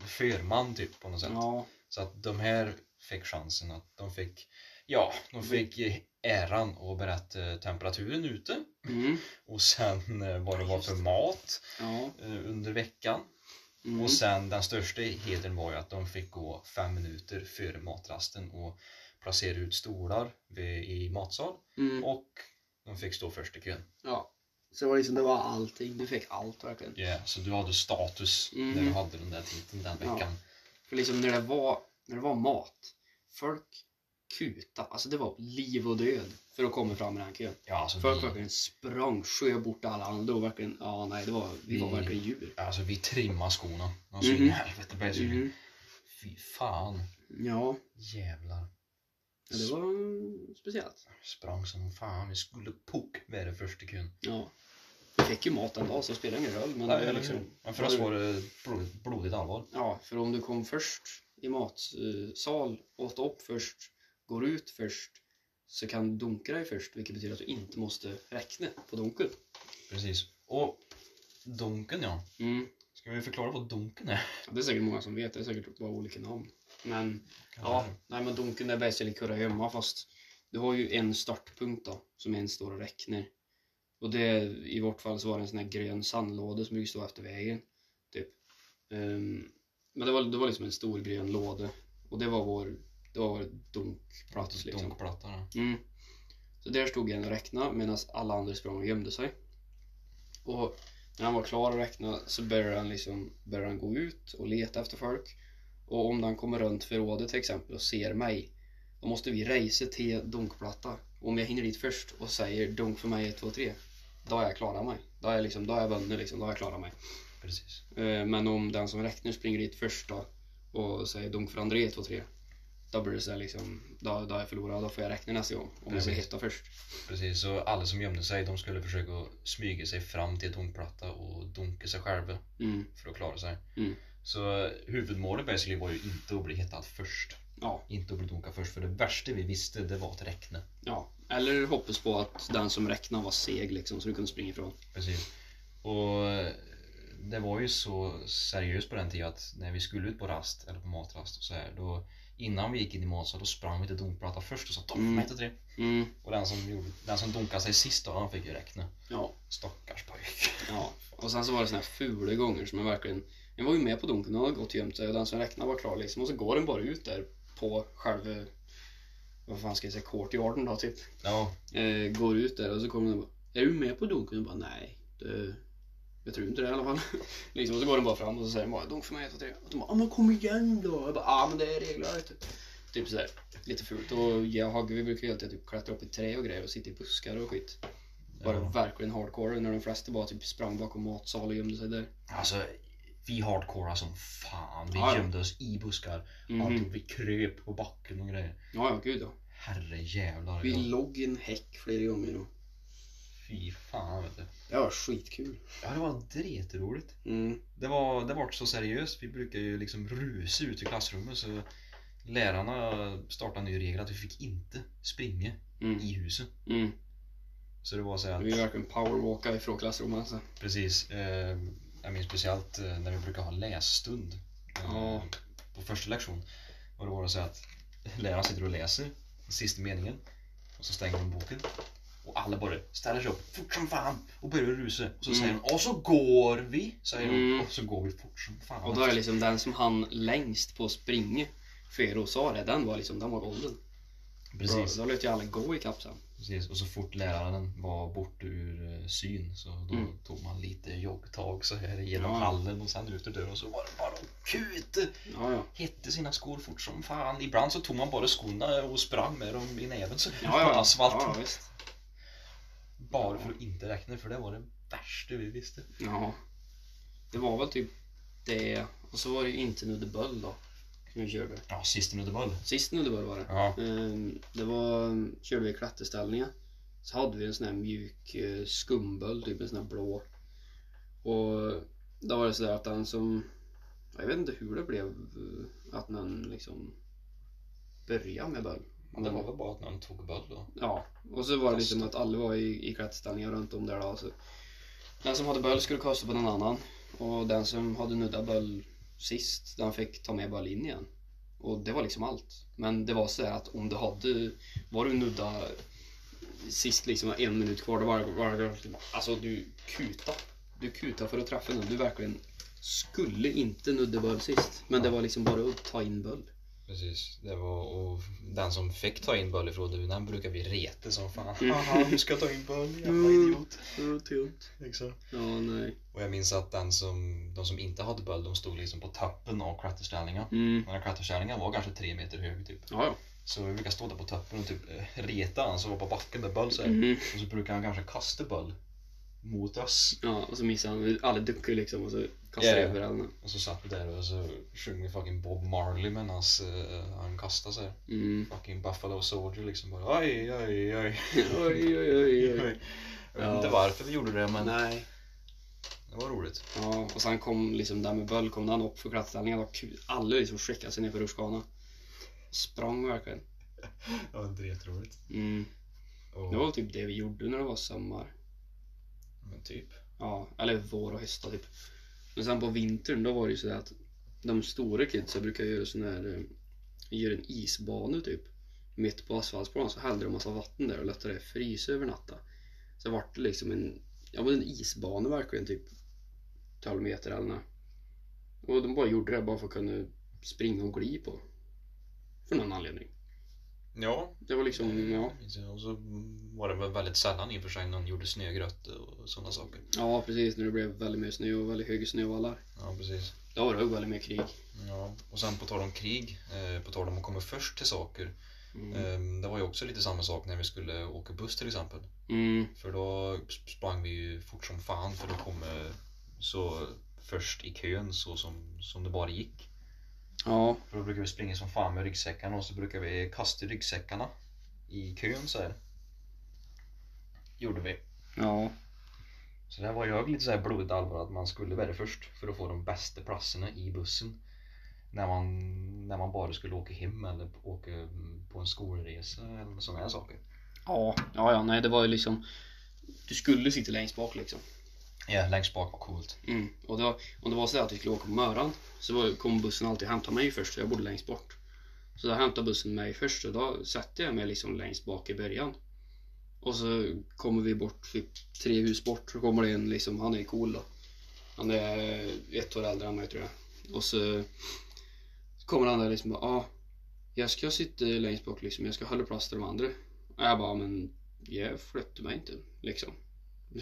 Speaker 2: Förman typ på något sätt.
Speaker 1: Ja,
Speaker 2: Så att de här fick chansen att de fick, ja, de fick äran att berätta temperaturen ute
Speaker 1: mm,
Speaker 2: och sen eh, vad det var för mat
Speaker 1: ja.
Speaker 2: eh, under veckan.
Speaker 1: Mm.
Speaker 2: Och sen den största hedern var ju att de fick gå fem minuter före matrasten och placera ut stolar vid, i matsal
Speaker 1: mm,
Speaker 2: och de fick stå först i kön.
Speaker 1: ja. Så det var liksom, det var allting. Du fick allt verkligen.
Speaker 2: Ja, Så du hade status
Speaker 1: Mm.
Speaker 2: när du hade den där titeln den
Speaker 1: Ja.
Speaker 2: veckan.
Speaker 1: För liksom när det var, när det var mat, folk kuta. Alltså det var liv och död för att komma fram i den här kön.
Speaker 2: Ja, alltså,
Speaker 1: Folk
Speaker 2: vi,
Speaker 1: verkligen sprang, sjög bort alla andra och verkligen, ja nej, det var, vi var
Speaker 2: Mm.
Speaker 1: verkligen djur.
Speaker 2: alltså vi trimmade skorna. Alltså
Speaker 1: Mhm.
Speaker 2: in i helvete blev jag sugen.
Speaker 1: Mm.
Speaker 2: Fy fan.
Speaker 1: Ja,
Speaker 2: Jävlar.
Speaker 1: ja, det var mm, speciellt.
Speaker 2: Sprang som fan. Vi skulle puck med det först i kön.
Speaker 1: Ja. Vi fick ju mat en dag så det spelade ingen roll. Men det var liksom,
Speaker 2: Men Mm. för oss var det blodigt, blodigt allvar.
Speaker 1: Ja, för om du kom först i matsal, åt upp först, går ut först, så kan du dunka dig först, vilket betyder att du inte måste räkna på dunken.
Speaker 2: Precis. Och Donken ja.
Speaker 1: Mm.
Speaker 2: Ska vi förklara vad Donken är?
Speaker 1: Ja, det är säkert många som vet, det är säkert bara olika namn. Men ja, nej men dunken är basically kurra gömma fast du har ju en startpunkt då, som en står och räknar. Och det, i vårt fall så var det en sån här grön sandlåda som brukar stå efter vägen. Typ. Ehm, men det var, det var liksom en stor grön låda. Och det var vår, det var vår dunkplats liksom.
Speaker 2: Donkplatta ja.
Speaker 1: Mm. Så där stod en och räknade medan alla andra sprang och gömde sig. Och när han var klar att räkna så började han, liksom, började han gå ut och leta efter folk. Och om han kommer runt förrådet till exempel och ser mig, då måste vi resa till dunkplatta. Och om jag hinner dit först och säger dunk för mig 1, 2, 3, då har jag klarat mig. Då har jag, liksom, då har jag vunnit, liksom, då har jag klarat mig.
Speaker 2: Precis.
Speaker 1: Eh, Men om den som räknar springer dit först då och säger dunk för André 1, 2, 3 Då blir det så här liksom, då, då har jag förlorat och då får jag räkna nästa gång om jag blir
Speaker 2: Precis.
Speaker 1: hetta först.
Speaker 2: Precis, så alla som gömde sig de skulle försöka smyga sig fram till Donkplatta och donka sig själva
Speaker 1: Mm.
Speaker 2: för att klara sig.
Speaker 1: Mm.
Speaker 2: Så huvudmålet basically var ju inte att bli hittad först.
Speaker 1: Ja,
Speaker 2: Inte att bli donkad först, för det värsta vi visste det var att räkna.
Speaker 1: ja. Eller hoppas på att den som räknar var seg liksom så du kunde springa ifrån.
Speaker 2: Precis. Och eh, det var ju så seriöst på den tiden att när vi skulle ut på rast eller på matrast och så här, då innan vi gick in i matsal då sprang vi till domplatta först och sa "Donk för
Speaker 1: Mm.
Speaker 2: mig till tre.
Speaker 1: Mm.
Speaker 2: Och den som, gjorde, den som donkade sig sist då, han fick ju räkna.
Speaker 1: Ja,
Speaker 2: Stackars pojk.
Speaker 1: ja. Och sen så var det såna här fula gånger som jag verkligen, jag var ju med på dunken och hade gått och gömt sig och den som räknar var klar liksom och så går den bara ut där på själva, vad fan ska jag säga, courtyarden då typ.
Speaker 2: Ja,
Speaker 1: eh, går ut där och så kommer den och bara Är du med på dunken? Jag bara nej. Det, jag tror inte det i alla fall. <laughs> liksom, och så går den bara fram och så säger den bara dunk för mig 1, 2, 3. Och de bara ah, men kom igen då. Jag bara ah, men det är regler vet du. Typ sådär. Lite fult. Och jag och Hagge vi brukar ju alltid typ klättra upp i träd och grejer och sitta i buskar och skit. Bara
Speaker 2: Ja.
Speaker 1: verkligen hardcore när de flesta bara typ sprang bakom matsal och gömde sig där.
Speaker 2: alltså vi hardcoreade som fan. Vi
Speaker 1: Ja, ja.
Speaker 2: gömde oss i buskar.
Speaker 1: Mhm.
Speaker 2: Alltid, vi kröp på backen och grejer.
Speaker 1: Ja, ja gud ja.
Speaker 2: Herrejävlar.
Speaker 1: Vi
Speaker 2: ja.
Speaker 1: låg i en häck flera gånger då.
Speaker 2: Fy fan vet du.
Speaker 1: Det var skitkul.
Speaker 2: Ja, det var dretroligt.
Speaker 1: Mm.
Speaker 2: Det var, det var så seriöst. Vi brukar ju liksom rusa ut i klassrummet så lärarna startade en ny regel att vi fick inte springa
Speaker 1: Mm.
Speaker 2: i huset.
Speaker 1: Mm.
Speaker 2: Så det var så
Speaker 1: Vi
Speaker 2: här,
Speaker 1: verkligen powerwalka ifrån klassrummet alltså.
Speaker 2: precis. Eh, jag minns speciellt eh, när vi brukar ha lässtund. Eh,
Speaker 1: Ja.
Speaker 2: På första lektion. Och då var det så här att läraren sitter och läser den sista meningen. Och så stänger hon boken. Och alla bara ställer sig upp fort som fan och börjar rusa. Och så
Speaker 1: Mm.
Speaker 2: säger hon och så går vi. Säger hon
Speaker 1: Mm.
Speaker 2: och så går vi fort som fan.
Speaker 1: Och då är liksom den som hann längst på springa för och sa det, den var liksom, den var golden.
Speaker 2: precis,
Speaker 1: Då, då lät ju alla gå ikapp sen.
Speaker 2: precis. Och så fort läraren var bort ur eh, syn så då
Speaker 1: Mm.
Speaker 2: tog man lite joggtag så här genom
Speaker 1: Ja.
Speaker 2: hallen och sen ut ur dörren och så var det bara att kuta.
Speaker 1: Ja, ja.
Speaker 2: hette sina skor fort som fan. Ibland så tog man bara skorna och sprang med dem i näven så
Speaker 1: Ja, ja.
Speaker 2: på asfalten.
Speaker 1: Ja, visst.
Speaker 2: Bara för att inte räkna för det var det värsta vi visste.
Speaker 1: Ja. Det var väl typ det. Och så var det ju inte Nuddeböll då. Som vi körde.
Speaker 2: Ja, sist i Nuddevall.
Speaker 1: Sist Nuddeböll var det.
Speaker 2: Ja.
Speaker 1: Ehm, Det var, ehm, körde vi klätterställningar. Så hade vi en sån här mjuk eh, skumböld, typ en sån här blå. Och då var det sådär att den som, jag vet inte hur det blev, eh, att någon liksom började med böld.
Speaker 2: Men det var väl bara att någon tog böll då.
Speaker 1: Ja, och så var det liksom att alla var i, i klätterställningar runt om där då. Så. Den som hade böll skulle kasta på någon annan och den som hade nuddat böll sist, den fick ta med böll in igen. Och det var liksom allt. Men det var så här att om du hade, var du nudda sist liksom en minut kvar, då var det var det liksom, alltså du kuta. Du kuta för att träffa någon. Du verkligen skulle inte nudda böll sist. Men det var liksom bara att ta in böll.
Speaker 2: Precis. Det var, och den som fick ta in böll ifrån nu, den brukar vi reta som fan. <laughs>
Speaker 1: Mm.
Speaker 2: Haha, du ska ta in böll, jävla
Speaker 1: Mm.
Speaker 2: idiot. Liksom.
Speaker 1: Ja, nej.
Speaker 2: Och jag minns att den som, de som inte hade böll, de stod liksom på toppen av klätterställningen.
Speaker 1: Mm.
Speaker 2: Den här klätterställningen var kanske tre meter hög typ.
Speaker 1: Ja, ja.
Speaker 2: Så vi brukar stå där på toppen och typ eh, reta han som var på backen med boll så här.
Speaker 1: Mhm.
Speaker 2: Och så brukar han kanske kasta boll mot oss.
Speaker 1: Ja, och så missar han. Alla duckar liksom och så kastar
Speaker 2: Ja, ja.
Speaker 1: över henne.
Speaker 2: Och så satt vi där och så sjöng vi fucking Bob Marley medan eh, han kastade så här.
Speaker 1: Mm.
Speaker 2: Fucking Buffalo Soldier liksom bara oj, oj, oj.
Speaker 1: <laughs> oj, oj, oj, oj.
Speaker 2: oj. Jag vet
Speaker 1: Ja.
Speaker 2: inte varför vi gjorde det men
Speaker 1: Nej.
Speaker 2: det var roligt.
Speaker 1: Ja, och sen kom liksom där med Böll, kom han upp för klätterställningen och kul. alla liksom skickade sig ner för rutschkanan. Sprang verkligen.
Speaker 2: Det var inte jätteroligt.
Speaker 1: Mm.
Speaker 2: Och,
Speaker 1: Det var typ det vi gjorde när det var sommar.
Speaker 2: Men typ.
Speaker 1: Ja, eller vår och hösta typ. Men sen på vintern då var det ju sådär att de stora kidsen brukar göra sån här, eh, göra en isbana typ. Mitt på asfaltsplan så hällde de massa vatten där och lät det frysa över natten. Så vart det liksom en, ja men en isbana verkligen typ 12 meter eller nåt. Och de bara gjorde det bara för att kunna springa och gli på. För någon anledning.
Speaker 2: Ja.
Speaker 1: Det var liksom, ja.
Speaker 2: Och så var det väl väldigt sällan i och för sig någon gjorde snögrötte och sådana saker.
Speaker 1: Ja precis, när det blev väldigt mycket snö och väldigt höga snövallar.
Speaker 2: Ja precis.
Speaker 1: Då var det väldigt mycket krig.
Speaker 2: Ja, och sen på tal om krig, eh, på tal om att komma först till saker.
Speaker 1: Mm.
Speaker 2: Eh, det var ju också lite samma sak när vi skulle åka buss till exempel.
Speaker 1: Mm.
Speaker 2: För då sp- sprang vi ju fort som fan för att komma så först i kön så som, som det bara gick.
Speaker 1: Ja.
Speaker 2: För då brukar vi springa som fan med ryggsäckarna och så brukar vi kasta ryggsäckarna i kön så här. Gjorde vi.
Speaker 1: Ja.
Speaker 2: Så där var jag lite så här blodigt allvar att man skulle vara först för att få de bästa platserna i bussen. När man, när man bara skulle åka hem eller p- åka mm, på en skolresa eller sådana här saker.
Speaker 1: Ja, ja, ja, nej det var ju liksom Du skulle sitta längst bak liksom
Speaker 2: Ja, längst bak var coolt.
Speaker 1: mm. Och då, om det var så att vi skulle åka på Möran Så var, kom bussen alltid hämta mig först, så jag bodde längst bort Så då hämtade bussen mig först och då satte jag mig liksom längst bak i början Och så kommer vi bort, typ tre hus bort, så kommer det en liksom, han är cool då Han är ett år äldre än mig tror jag Och så kommer han där liksom bara, ah, jag ska sitta längst bak liksom, jag ska hålla plats till de andra och jag bara, men jag flyttar mig inte liksom.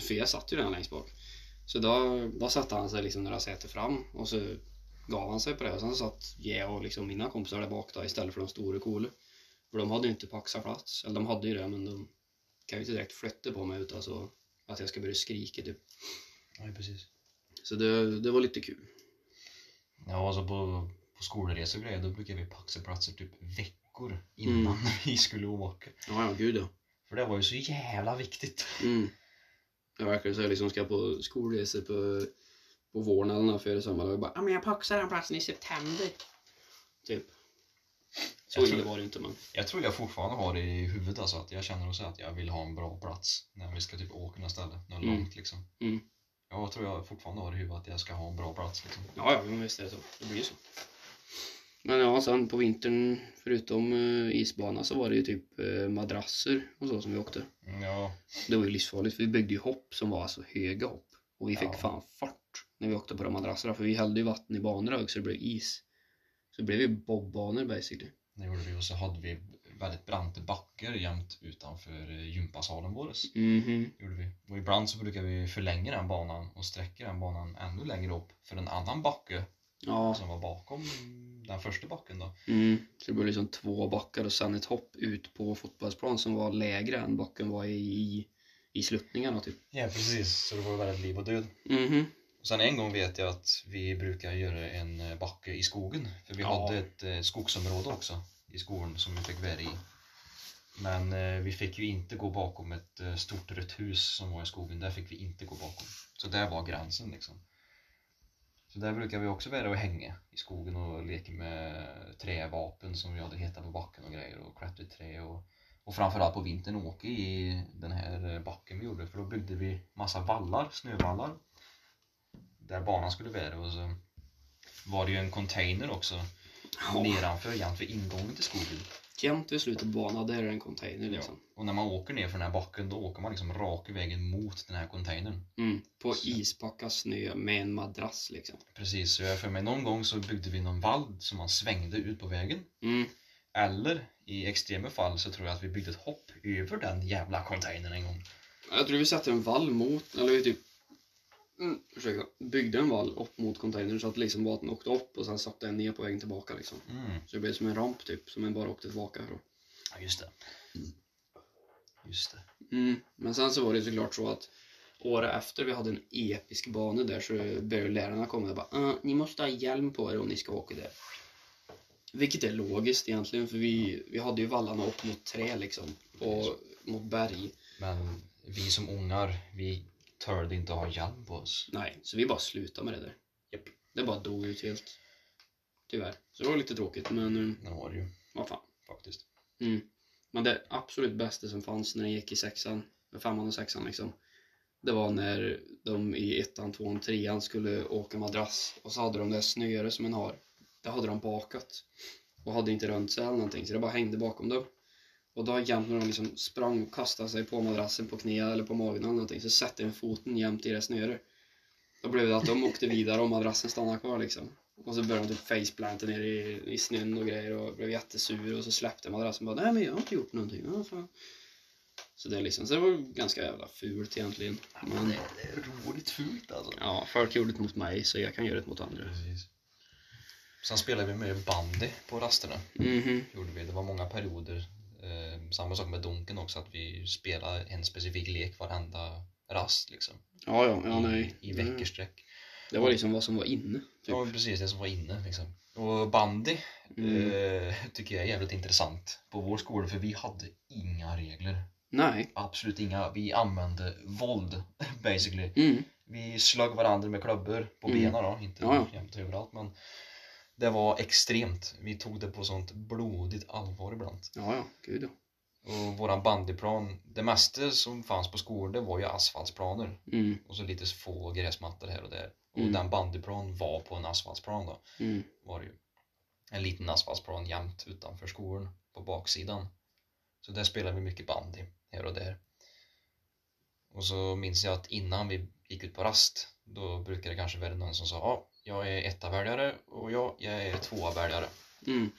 Speaker 1: För jag satt ju redan längst bak. Så då, då satte han sig liksom några säter fram och så gav han sig på det. Och sen satt jag och liksom mina kompisar där bak då istället för de stora coola. För de hade ju inte paxat plats. Eller de hade ju det men de kan ju inte direkt flytta på mig utan så att jag ska börja skrika typ.
Speaker 2: Ja, precis.
Speaker 1: Så det, det var lite kul.
Speaker 2: Ja, och så på, på skolresor och grejer då brukar vi paxa platser typ veckor innan <laughs> vi skulle åka.
Speaker 1: Ja, ja, gud ja.
Speaker 2: För det var ju så jävla viktigt.
Speaker 1: Mm. Jag verkar så jag liksom ska på skolresor på, på våren eller något före sommaren. Och jag bara, ja men jag paxar den platsen i september. Typ. Så
Speaker 2: Jag
Speaker 1: illa
Speaker 2: tror-
Speaker 1: var det inte men.
Speaker 2: Jag tror jag fortfarande har det i huvudet alltså att jag känner också att jag vill ha en bra plats när vi ska typ åka något ställe, något
Speaker 1: Mm.
Speaker 2: långt liksom.
Speaker 1: Mm.
Speaker 2: Jag tror jag fortfarande har i huvudet att jag ska ha en bra plats liksom.
Speaker 1: Ja, ja, men visst är det så. Det blir ju så. Men ja, sen på vintern, förutom eh, isbana, så var det ju typ eh, madrasser och så som vi åkte.
Speaker 2: Mm, Ja,
Speaker 1: Det var ju livsfarligt, för vi byggde ju hopp som var alltså höga hopp. Och vi fick
Speaker 2: Ja.
Speaker 1: fan fart när vi åkte på de madrasserna, för vi hällde ju vatten i banor hög så det blev is. Så det blev ju bobbanor basically.
Speaker 2: det gjorde vi och så hade vi väldigt branta backar jämt utanför eh, gympasalen våres.
Speaker 1: Mhm.
Speaker 2: gjorde vi. Och ibland så brukar vi förlänga den banan och sträcka den banan ännu längre upp för en annan backe
Speaker 1: Ja. alltså.
Speaker 2: som var bakom den första backen då.
Speaker 1: Mm. Så det blev liksom två backar och sen ett hopp ut på fotbollsplan som var lägre än backen var i, i sluttningarna typ.
Speaker 2: Ja precis, så det var väldigt liv och död.
Speaker 1: Mhm.
Speaker 2: Och sen en gång vet jag att vi brukar göra en eh, backe i skogen. För vi
Speaker 1: Ja.
Speaker 2: hade ett eh, skogsområde också i skolan som vi fick vara i. Men eh, vi fick ju inte gå bakom ett eh, stort rött hus som var i skogen. Där fick vi inte gå bakom. Så där var gränsen liksom. Så där brukar vi också vara och hänga i skogen och leka med trävapen som vi hade hittat på backen och grejer och klättra i trä och, och framförallt på vintern åka i den här eh, backen vi gjorde för då byggde vi massa vallar, snövallar där banan skulle vara och så var det ju en container också
Speaker 1: Ja.
Speaker 2: nedanför jämt vid ingången till skogen.
Speaker 1: Jämt vid slutet på banan, där är det en container liksom.
Speaker 2: Och när man åker ner från den här backen då åker man liksom raka vägen mot den här containern.
Speaker 1: Mm, på
Speaker 2: Så.
Speaker 1: ispacka snö med en madrass liksom.
Speaker 2: Precis, så jag för mig någon gång så byggde vi någon vall som man svängde ut på vägen.
Speaker 1: Mm.
Speaker 2: Eller i extrema fall så tror jag att vi byggde ett hopp över den jävla containern en gång.
Speaker 1: Jag tror vi satte en vall mot, eller vi typ mm, ursäkta, byggde en vall upp mot containern så att liksom vattnet åkte upp och sen satte den ner på vägen tillbaka liksom.
Speaker 2: Mm,
Speaker 1: Så det blev som en ramp typ, som en bara åkte tillbaka från.
Speaker 2: ja just det. Just det.
Speaker 1: Mm. Men sen så var det ju såklart så att året efter vi hade en episk bana där så började lärarna komma och bara "Ah, ni måste ha hjälm på er om ni ska åka där. Vilket är logiskt egentligen för vi, vi hade ju vallarna upp mot trä liksom och mot berg.
Speaker 2: Men vi som ungar, vi törde inte ha hjälm på oss.
Speaker 1: Nej, så vi bara slutade med det där.
Speaker 2: Japp.
Speaker 1: Det bara dog ut helt. Tyvärr. Så det var lite tråkigt, men eh,
Speaker 2: Det var det ju
Speaker 1: vad fan.
Speaker 2: faktiskt.
Speaker 1: Mm. Men det absolut bästa som fanns när jag gick i sexan, femman och sexan liksom, det var när de i ettan, tvåan, trean skulle åka madrass och så hade de det där snöret som en har, det hade de bakat och hade inte rönt sig eller någonting så det bara hängde bakom dem. Och då jämt när de liksom sprang och kastade sig på madrassen på knä eller på magen eller någonting så satte en foten jämt i det snöret. Då blev det att de åkte vidare och madrassen stannade kvar liksom. Och så började de typ faceplanta ner i, i snön och grejer och blev jättesur och så släppte madrassen bara Nej men jag har inte gjort någonting, ja, fan. Så det är liksom, så det var ganska jävla fult egentligen. Men
Speaker 2: det är roligt fult alltså.
Speaker 1: ja, folk gjorde det mot mig så jag kan göra det mot andra.
Speaker 2: Precis. Sen spelade vi med bandy på rasterna.
Speaker 1: Mhm,
Speaker 2: Gjorde vi. Det var många perioder. Eh, samma sak med Donken också, att vi spelade en specifik lek varenda rast liksom.
Speaker 1: Ja, ja, ja, nej. Mm.
Speaker 2: I, i veckosträck.
Speaker 1: Det var liksom vad som var inne. Typ.
Speaker 2: Ja, precis det som var inne liksom. Och bandy
Speaker 1: Mm.
Speaker 2: eh, tycker jag är jävligt intressant på vår skola för vi hade inga regler.
Speaker 1: Nej.
Speaker 2: Absolut inga. Vi använde våld basically.
Speaker 1: Mm.
Speaker 2: Vi slog varandra med klubbor på
Speaker 1: Mm.
Speaker 2: benen då, inte
Speaker 1: Ja, ja.
Speaker 2: jämt överallt men det var extremt. Vi tog det på sånt blodigt allvar ibland.
Speaker 1: Ja, ja, gud ja.
Speaker 2: Och våran bandyplan, det mesta som fanns på skolor det var ju asfaltsplaner
Speaker 1: Mm,
Speaker 2: och så lite få gräsmattor här och där. Och
Speaker 1: Mm.
Speaker 2: den bandyplan var på en asfaltsplan då,
Speaker 1: mm.
Speaker 2: var det ju. En liten asfaltsplan jämt utanför skolan på baksidan. Så där spelade vi mycket bandy här och där. Och så minns jag att innan vi gick ut på rast, då brukade det kanske vara någon som sa ja, jag är etta-väljare och ja, jag är tvåa-väljare.
Speaker 1: Mm.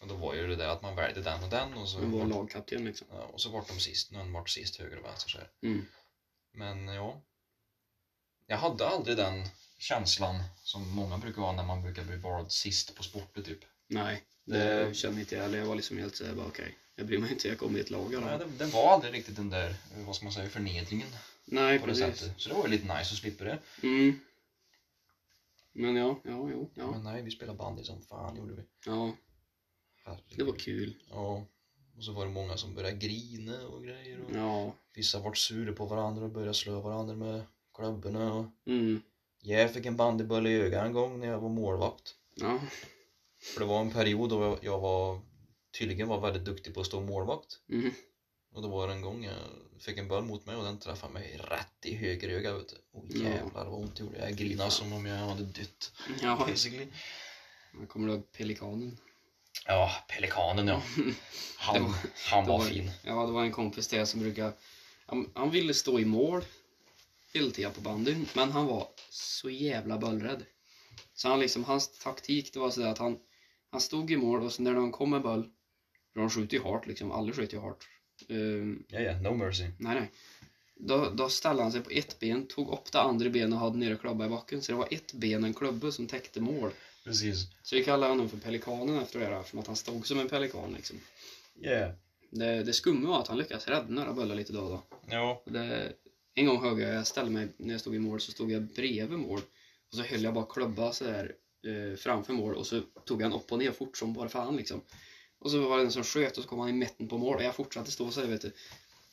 Speaker 2: Och då var ju det där att man väljer den och den och så,
Speaker 1: Han var lagkapten liksom.
Speaker 2: ja, och så vart de sist, någon vart sist höger och vänster så här.
Speaker 1: Mm.
Speaker 2: Men ja. Jag hade aldrig den känslan som många brukar ha när man brukar bli vald sist på sporter typ.
Speaker 1: Nej, det kände inte jag heller. Jag var liksom helt såhär bara okej. Jag bryr mig inte, jag kom i ett lag
Speaker 2: Nej,
Speaker 1: eller?
Speaker 2: det, det var aldrig riktigt den där, eh, vad ska man säga, förnedringen
Speaker 1: Nej,
Speaker 2: på det
Speaker 1: precis.
Speaker 2: sättet. Så det var ju lite nice att slippa det.
Speaker 1: Mm. Men ja, ja, jo, ja.
Speaker 2: Men nej, vi spelade bandy som fan gjorde vi.
Speaker 1: Ja,
Speaker 2: Herregud.
Speaker 1: det var kul.
Speaker 2: Ja. Och så var det många som började grina och grejer. Och
Speaker 1: Ja.
Speaker 2: Vissa vart sura på varandra och började slå varandra med klubborna. Och...
Speaker 1: Mm.
Speaker 2: Jag fick en bandyboll i ögat en gång när jag var målvakt.
Speaker 1: Ja.
Speaker 2: För det var en period då jag var tydligen var väldigt duktig på att stå målvakt.
Speaker 1: Mm.
Speaker 2: Och då var det en gång jag fick en boll mot mig och den träffade mig rätt i höger öga vet du. Och
Speaker 1: Ja.
Speaker 2: jävlar vad ont det gjorde. Jag grinade som om jag hade dött.
Speaker 1: Ja,
Speaker 2: Basically.
Speaker 1: jag kommer ihåg pelikanen.
Speaker 2: Ja,
Speaker 1: <laughs>
Speaker 2: pelikanen ja.
Speaker 1: Det
Speaker 2: Han,
Speaker 1: var-
Speaker 2: han
Speaker 1: Det
Speaker 2: var
Speaker 1: var-
Speaker 2: fin.
Speaker 1: Ja, det var en kompis där som brukade... Han, han ville stå i mål hela tiden på bandyn, men han var så jävla böllrädd. Så han liksom, hans taktik det var sådär att han, han stod i mål och så när de kom med boll, för de skjuter ju hårt liksom, alla skjuter ju hårt. Ehm,
Speaker 2: Ja, ja, no mercy.
Speaker 1: nej, nej. Då, då ställde han sig på ett ben, tog upp det andra benet och hade nere klubba i backen, så det var ett ben och en klubba som täckte mål.
Speaker 2: Precis.
Speaker 1: Så vi kallade honom för pelikanen efter det här, för att han stod som en pelikan liksom.
Speaker 2: Yeah.
Speaker 1: Det, det skumma var att han lyckades rädda några bollar lite då och då.
Speaker 2: Ja.
Speaker 1: Och Det, en gång högg jag, jag ställde mig, när jag stod i mål så stod jag bredvid mål. Och så höll jag bara klubba sådär eh, framför mål och så tog han upp och ner fort som bara fan liksom. Och så var det en som sköt och så kom han i mitten på mål och jag fortsatte stå sådär vet du.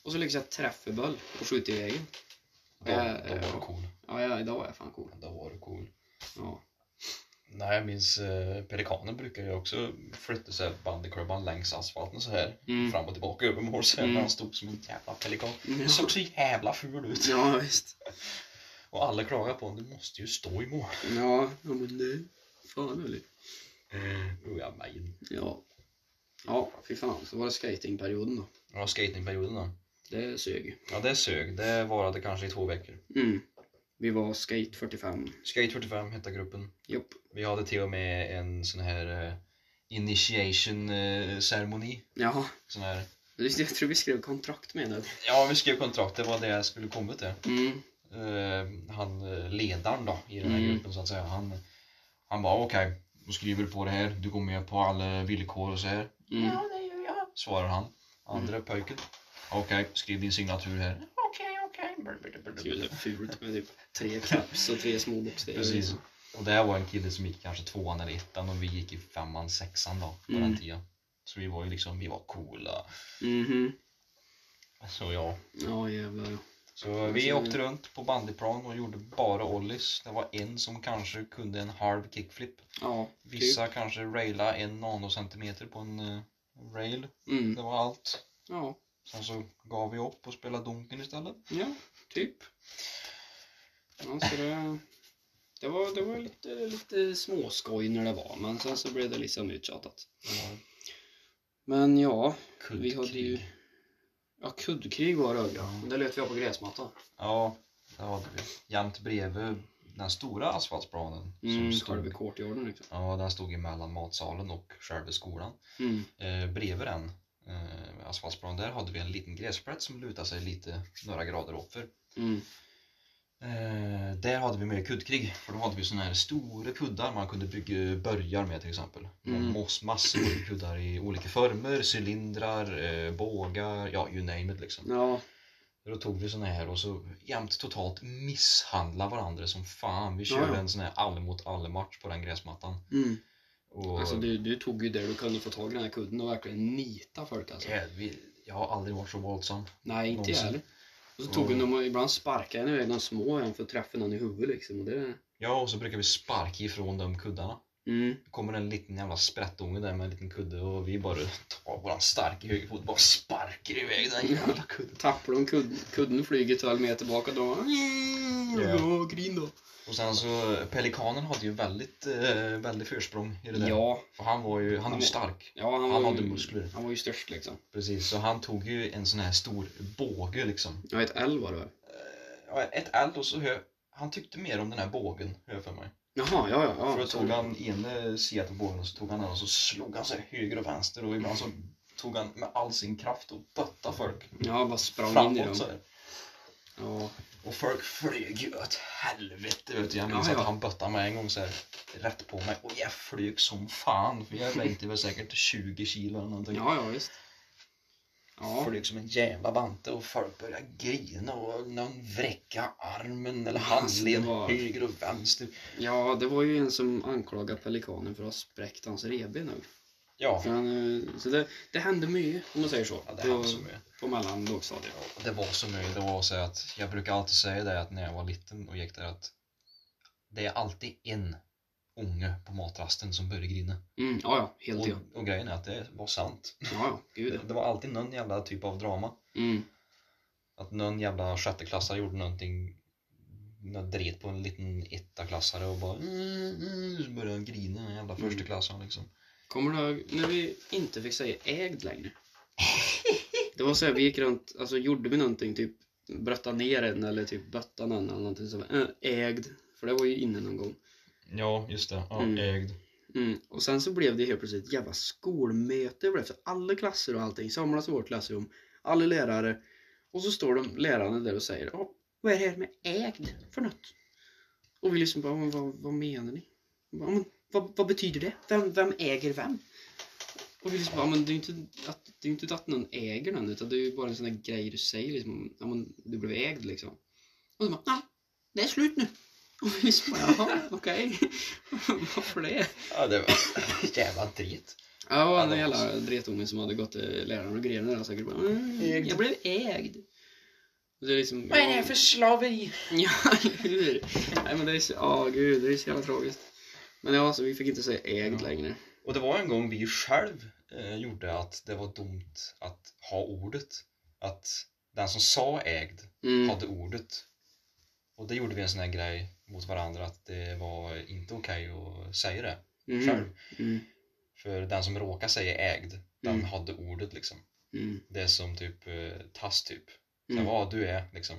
Speaker 1: Och så lyckades jag träffa boll och skjuta i vägen.
Speaker 2: Då, då
Speaker 1: Eh,
Speaker 2: var du
Speaker 1: ja.
Speaker 2: cool.
Speaker 1: Ja, ja, idag var jag fan cool.
Speaker 2: Då var du cool.
Speaker 1: Ja.
Speaker 2: Nej, jag minns eh, pelikanen brukar ju också flytta sig bandyklubban längs asfalten så här.
Speaker 1: Mm.
Speaker 2: Fram och tillbaka över mål så här,
Speaker 1: Mm.
Speaker 2: när han stod som en jävla pelikan.
Speaker 1: Ja.
Speaker 2: Han såg så jävla ful ut.
Speaker 1: Ja, visst.
Speaker 2: Och alla klagade på honom, du måste ju stå i mål.
Speaker 1: Ja, ja men det... Fan eller?
Speaker 2: <laughs> Oh, ja, men.
Speaker 1: Ja. Ja, fy fan. Så var det skatingperioden då.
Speaker 2: Ja, skatingperioden då.
Speaker 1: Det sög ju.
Speaker 2: Ja, det sög. Det varade kanske i två veckor.
Speaker 1: Mm. Vi var Skate 45.
Speaker 2: Skate 45 hette gruppen.
Speaker 1: Japp.
Speaker 2: Vi hade till och med en sån här eh, initiation eh, ceremoni.
Speaker 1: Ja,
Speaker 2: Sån här.
Speaker 1: jag tror vi skrev kontrakt med den.
Speaker 2: Ja, vi skrev kontrakt. Det var det jag skulle komma till.
Speaker 1: Mm.
Speaker 2: eh, han eh, ledaren då i den här
Speaker 1: Mm.
Speaker 2: gruppen så att säga. Han, han bara okej, då skriver du på det här, du går med på alla villkor och så här.
Speaker 1: Mm.
Speaker 2: Ja, det gör jag. Svarar han. Andra pojken. Okej, skriv din signatur här. Okej,
Speaker 1: Det
Speaker 2: okej.
Speaker 1: är fult med typ tre caps och tre små bokstäver.
Speaker 2: Precis. Och det här var en kille som gick kanske tvåan eller ettan och vi gick i femman, sexan då på
Speaker 1: Mm.
Speaker 2: den tiden. Så vi var ju liksom, vi var coola.
Speaker 1: Mhm.
Speaker 2: Så ja.
Speaker 1: Ja, jävlar ja.
Speaker 2: Så vi åkte runt på bandyplan och gjorde bara ollies. Det var en som kanske kunde en halv kickflip.
Speaker 1: Ja,
Speaker 2: Vissa
Speaker 1: Typ.
Speaker 2: kanske raila en nanocentimeter på en eh, rail.
Speaker 1: typ. Mm.
Speaker 2: Det var allt.
Speaker 1: Ja.
Speaker 2: Sen så gav vi upp och spelade Donken istället.
Speaker 1: ja, typ. Ja, så det, det var, det var lite, lite småskoj när det var, men sen så blev det liksom uttjatat. Men ja, vi hade ju... Ja, kuddkrig var det ja. Det lät vi ha på gräsmattan.
Speaker 2: Ja, det hade vi. Jämt bredvid den stora asfaltsplanen.
Speaker 1: Mm,
Speaker 2: som stod,
Speaker 1: själva courtyarden liksom.
Speaker 2: ja, den stod emellan matsalen och själva skolan.
Speaker 1: Mm.
Speaker 2: Eh, bredvid den eh, asfaltsplanen där hade vi en liten gräsplätt som lutade sig lite några grader uppför.
Speaker 1: Mm.
Speaker 2: Eh, där hade vi med kuddkrig, för då hade vi såna här stora kuddar man kunde bygga börjar med till exempel.
Speaker 1: Mm.
Speaker 2: Moss, massor med kuddar i olika former, cylindrar, eh, bågar, ja you name it liksom.
Speaker 1: Ja,
Speaker 2: Då tog vi såna här och så jämt totalt misshandla varandra som fan. Vi
Speaker 1: Ja,
Speaker 2: körde
Speaker 1: ja.
Speaker 2: en sån här all mot all match på den gräsmattan.
Speaker 1: mm.
Speaker 2: Och,
Speaker 1: alltså du, du tog ju det du kunde få tag i den här kudden och verkligen nita folk alltså.
Speaker 2: ja, vi, jag har aldrig varit så våldsam.
Speaker 1: Nej, inte jag
Speaker 2: Någonsin.
Speaker 1: heller. Och så tog
Speaker 2: Mm.
Speaker 1: de och ibland sparkade en iväg de små igen för att träffa någon i huvudet liksom. Och det...
Speaker 2: Ja, och så brukar vi sparka ifrån de kuddarna.
Speaker 1: Mm.
Speaker 2: kommer en liten jävla sprättunge där med en liten kudde och vi bara tar våran starka högerfot och bara sparkar iväg den jävla kudden.
Speaker 1: Tappar de kudden, kudden flyger 12 meter bak och då... Ja, grin då.
Speaker 2: Och sen så, pelikanen hade ju väldigt, eh, väldigt försprång i det där.
Speaker 1: Ja,
Speaker 2: För han var ju, han var ju stark.
Speaker 1: ja han,
Speaker 2: Han
Speaker 1: var
Speaker 2: hade
Speaker 1: ju,
Speaker 2: muskler.
Speaker 1: Han var ju störst liksom.
Speaker 2: Precis, så han tog ju en sån här stor båge liksom.
Speaker 1: Ja, ett L var det väl?
Speaker 2: Eh, ja, Ett eld och så hö, han tyckte mer om den här bågen, hör jag för mig.
Speaker 1: Jaha, ja, ja. ja
Speaker 2: För då tog han ene sidan på bågen och så tog han den och så slog han sig höger och vänster och ibland så tog han med all sin kraft och böttade folk
Speaker 1: Ja, bara sprang in i dem.
Speaker 2: framåt så här.
Speaker 1: Ja.
Speaker 2: Och folk flög ju åt helvete vet du. Jag minns
Speaker 1: Ja, ja.
Speaker 2: att han böttade mig en gång så här rätt på mig och jag flög som fan för jag vägde väl säkert 20 kilo eller någonting.
Speaker 1: ja, ja, visst. Ja.
Speaker 2: Flög som en jävla bante och folk började grina och någon vräcka armen eller handleden
Speaker 1: Det var-
Speaker 2: höger och vänster.
Speaker 1: Ja, det var ju en som anklagade pelikanen för att ha spräckt hans revben nu.
Speaker 2: Ja,
Speaker 1: Så, han, eh, så det, det hände mycket, om man säger så,
Speaker 2: ja det
Speaker 1: på,
Speaker 2: hände så mycket.
Speaker 1: på mellan lågstadiet.
Speaker 2: Och Det var så mycket. Det var så här att jag brukar alltid säga det att när jag var liten och gick där att det är alltid en Ånge på matrasten som började grina.
Speaker 1: Mm, ja, ja, helt
Speaker 2: Och,
Speaker 1: ja.
Speaker 2: och grejen är att det var sant.
Speaker 1: Ja, ja, gud ja.
Speaker 2: Det var alltid någon jävla typ av drama.
Speaker 1: Mm,
Speaker 2: Att någon jävla sjätteklassare gjorde någonting något dret på en liten ettaklassare och bara mm, mm, så började han grina den jävla
Speaker 1: Mm.
Speaker 2: försteklassaren liksom.
Speaker 1: Kommer du ihåg när vi inte fick säga ägd längre? Det var så här, vi gick runt, alltså gjorde vi någonting, typ bröttade ner en eller typ bötta någon eller någonting som äh, ägd. För det var ju inne någon gång.
Speaker 2: Ja, just det. Ja,
Speaker 1: Mm.
Speaker 2: ägd.
Speaker 1: Mm. Och sen så blev det helt plötsligt ett jävla skolmöte. Blev det. Så alla klasser och allting samlas i vårt klassrum. Alla lärare. Och så står de lärarna där och säger "Ja, Vad är det här med ägd för något? Och vi liksom bara, "Men vad, vad menar ni? Och bara, "Men vad, vad betyder det? Vem, vem äger vem? Och vi liksom bara, men det är ju inte att, det är ju inte att någon äger någon utan det är ju bara en sån där grej du säger liksom. Ja, men du blev ägd liksom. Och de bara, nej, det är slut nu. Och vi liksom bara, jaha, okej. <laughs> Varför det?
Speaker 2: Ja, det var <coughs> jävla dret.
Speaker 1: Ja, och den
Speaker 2: Ja, det var
Speaker 1: jävla dretungen som hade gått till läraren och grejen där säkert bara mm,
Speaker 2: Ägd.
Speaker 1: Jag blev ägd. Det är liksom, ja,
Speaker 2: slaveri?
Speaker 1: <laughs> Ja, eller hur? Nej men det är så, ja gud, det är så jävla tragiskt. Men ja, alltså vi fick inte säga ägd
Speaker 2: Ja.
Speaker 1: längre.
Speaker 2: Och det var en gång vi själv eh, gjorde att det var dumt att ha ordet. Att den som sa ägd
Speaker 1: Mm.
Speaker 2: hade ordet. Och det gjorde vi en sån här grej mot varandra att det var inte okej att säga det
Speaker 1: Mm.
Speaker 2: själv.
Speaker 1: Mm.
Speaker 2: För den som råkade säga ägd, den
Speaker 1: Mm.
Speaker 2: hade ordet liksom.
Speaker 1: Mm.
Speaker 2: Det är som typ eh, tass typ. Mm.
Speaker 1: Mm. Ja,
Speaker 2: Vad du är liksom.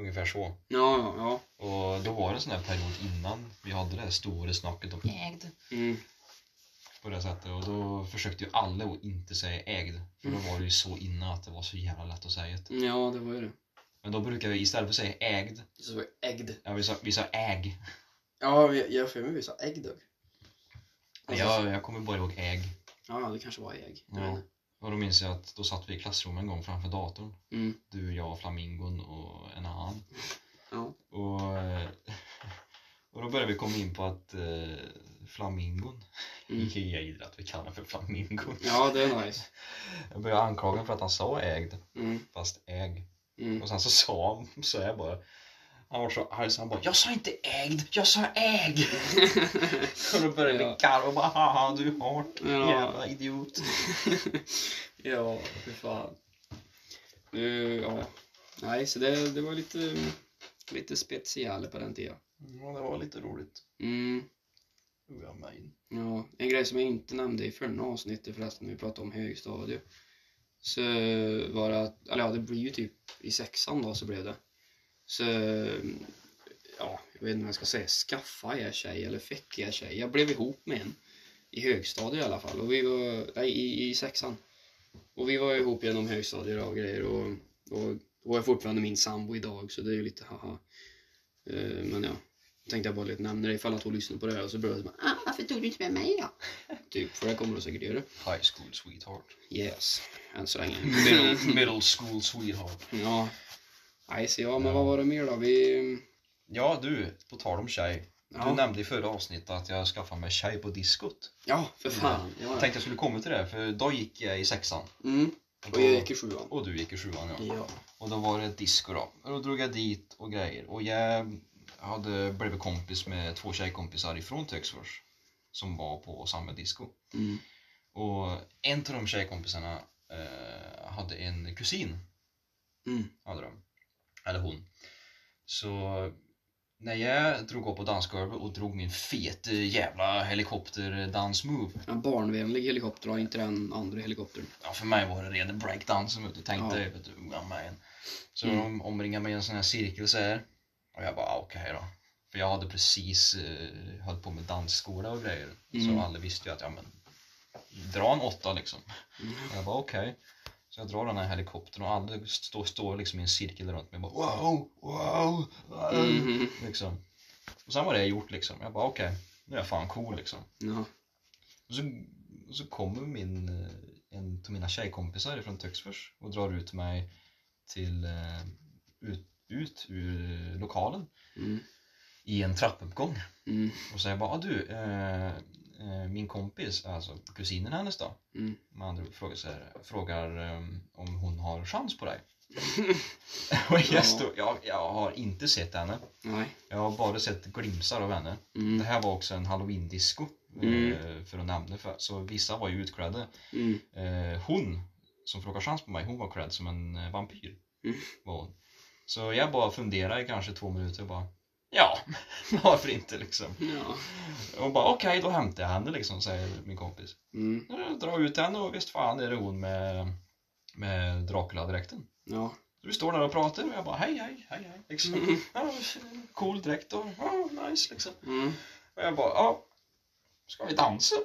Speaker 2: Ungefär så.
Speaker 1: ja, ja.
Speaker 2: Och då var det en sån här period innan vi hade det här stora snacket om ägd.
Speaker 1: Mm.
Speaker 2: på det sättet och då försökte ju alla att inte säga ägd. För då var det ju så inne att det var så jävla lätt att säga det.
Speaker 1: Ja, det var ju det.
Speaker 2: Men då brukar vi istället för att säga ägd,
Speaker 1: Så var det ägd.
Speaker 2: ja vi sa, vi sa äg.
Speaker 1: Ja, vi- jag har för mig vi sa ägg dock. Alltså,
Speaker 2: Jag, jag kommer bara ihåg äg.
Speaker 1: Ja, det kanske var ägg. Jag
Speaker 2: Ja.
Speaker 1: vet inte.
Speaker 2: Och då minns jag att då satt vi i klassrummet en gång framför datorn.
Speaker 1: Mm.
Speaker 2: Du, jag, flamingon och en annan.
Speaker 1: Ja.
Speaker 2: Och, <laughs> eh, och då började vi komma in på att eh, flamingon,
Speaker 1: Mm.
Speaker 2: jag gillar att vi kallar honom för flamingon.
Speaker 1: ja, det är nice.
Speaker 2: Jag började anklaga honom för att han sa ägd,
Speaker 1: Mm.
Speaker 2: fast äg.
Speaker 1: Mm.
Speaker 2: Och sen så sa han så här bara. Han var så arg så han bara Jag sa inte ägd, jag sa ägg!
Speaker 1: <laughs>
Speaker 2: och då började vi
Speaker 1: Ja.
Speaker 2: garva och bara haha du har
Speaker 1: Ja.
Speaker 2: jävla idiot.
Speaker 1: <laughs> ja, fy fan. Nu, ja. Nej, så det, det var lite, lite speciellt på den tiden.
Speaker 2: Ja det var lite roligt.
Speaker 1: Mm,
Speaker 2: Tror jag mig.
Speaker 1: ja. En grej som jag inte nämnde i förra avsnittet förresten, när vi pratade om högstadiet. Så var det att, eller ja, det blir ju typ i sexan då så blev det. Så, ja, jag vet inte vad jag ska säga, skaffa er tjej eller fick er tjej. Jag blev ihop med en. I högstadiet i alla fall. Och vi var, nej, i, i sexan. Och vi var ihop genom högstadier och grejer och, och, och är fortfarande min sambo idag så det är ju lite haha. Eh, men ja, tänkte jag bara lite nämna det ifall att hon lyssnar på det här och så börjar jag bara ah, varför tog du inte med mig då? typ, för det kommer hon säkert göra.
Speaker 2: High school sweetheart.
Speaker 1: Yes, än så länge. <laughs>
Speaker 2: Middle, middle school sweetheart.
Speaker 1: ja. Nej, så ja, men
Speaker 2: Ja.
Speaker 1: vad var det mer då? Vi...
Speaker 2: Ja du, på tal om tjej. Du
Speaker 1: Ja,
Speaker 2: nämnde i förra avsnittet att jag skaffade mig tjej på diskot.
Speaker 1: ja för fan.
Speaker 2: Jag
Speaker 1: Ja.
Speaker 2: tänkte jag skulle komma till det för då gick jag i sexan.
Speaker 1: Mm. Och jag gick i sjuan.
Speaker 2: och du gick i sjuan ja.
Speaker 1: Ja.
Speaker 2: Och då var det ett disco då. Och då drog jag dit och grejer. Och jag hade blivit kompis med två tjejkompisar ifrån Töcksfors. Som var på samma disco.
Speaker 1: Mm.
Speaker 2: Och en av de tjejkompisarna eh, hade en kusin.
Speaker 1: Mm.
Speaker 2: Hade de. Eller hon. Så när jag drog upp på dansgolvet och drog min fete jävla helikopterdansmove.
Speaker 1: En barnvänlig helikopter och inte den andra helikoptern.
Speaker 2: Ja, för mig var det rena breakdansen vet du. Tänkte
Speaker 1: Ja.
Speaker 2: jag vet du, unga man. Så
Speaker 1: Mm.
Speaker 2: de omringade mig i en sån här cirkel så här. Och jag bara ah, okej då. För jag hade precis eh, höll på med dansskola och grejer.
Speaker 1: Mm.
Speaker 2: Så alla visste ju att ja men dra en åtta liksom.
Speaker 1: Mm.
Speaker 2: Och jag bara okej. Så jag drar den här helikoptern och alla står står liksom i en cirkel runt mig och bara wow, wow, wow.
Speaker 1: Mm.
Speaker 2: Liksom. Och sen var det gjort liksom. Jag bara okej, nu är jag fan cool liksom.
Speaker 1: Ja.
Speaker 2: Och så, och så kommer min, eh, en av mina tjejkompisar från Töcksfors och drar ut mig till, eh, ut, ut ur lokalen
Speaker 1: Mm.
Speaker 2: i en trappuppgång.
Speaker 1: Mm.
Speaker 2: Och säger bara, "Ah, du, eh, eh, min kompis, alltså kusinen hennes då,
Speaker 1: Mm. <laughs>
Speaker 2: med andra ord, frågar, så här, frågar eh, om hon har chans på dig. <laughs> Och jag, stod, jag, jag har inte sett henne.
Speaker 1: Nej.
Speaker 2: Jag har bara sett glimsar av henne. Det
Speaker 1: Mm.
Speaker 2: här var också en halloween-disco.
Speaker 1: Mm.
Speaker 2: eh, För att nämna för. Så vissa var ju utklädda.
Speaker 1: Mm.
Speaker 2: Eh, Hon som frågade chans på mig, hon var klädd som en eh, vampyr.
Speaker 1: Mm.
Speaker 2: Var hon. Så jag bara funderade i kanske två minuter och bara Ja, <laughs> varför inte liksom?
Speaker 1: Ja.
Speaker 2: Och bara okej, då hämtar jag henne liksom, säger min kompis.
Speaker 1: Mm.
Speaker 2: Jag drar ut henne och visst fan är det hon med, med Dracula-dräkten.
Speaker 1: Ja.
Speaker 2: Så vi står där och pratar och jag bara hej, hej, hej, hej. Liksom.
Speaker 1: Mm.
Speaker 2: <laughs> Ja, cool dräkt och ja, nice liksom.
Speaker 1: Mm.
Speaker 2: Och jag bara ja, ska vi dansa?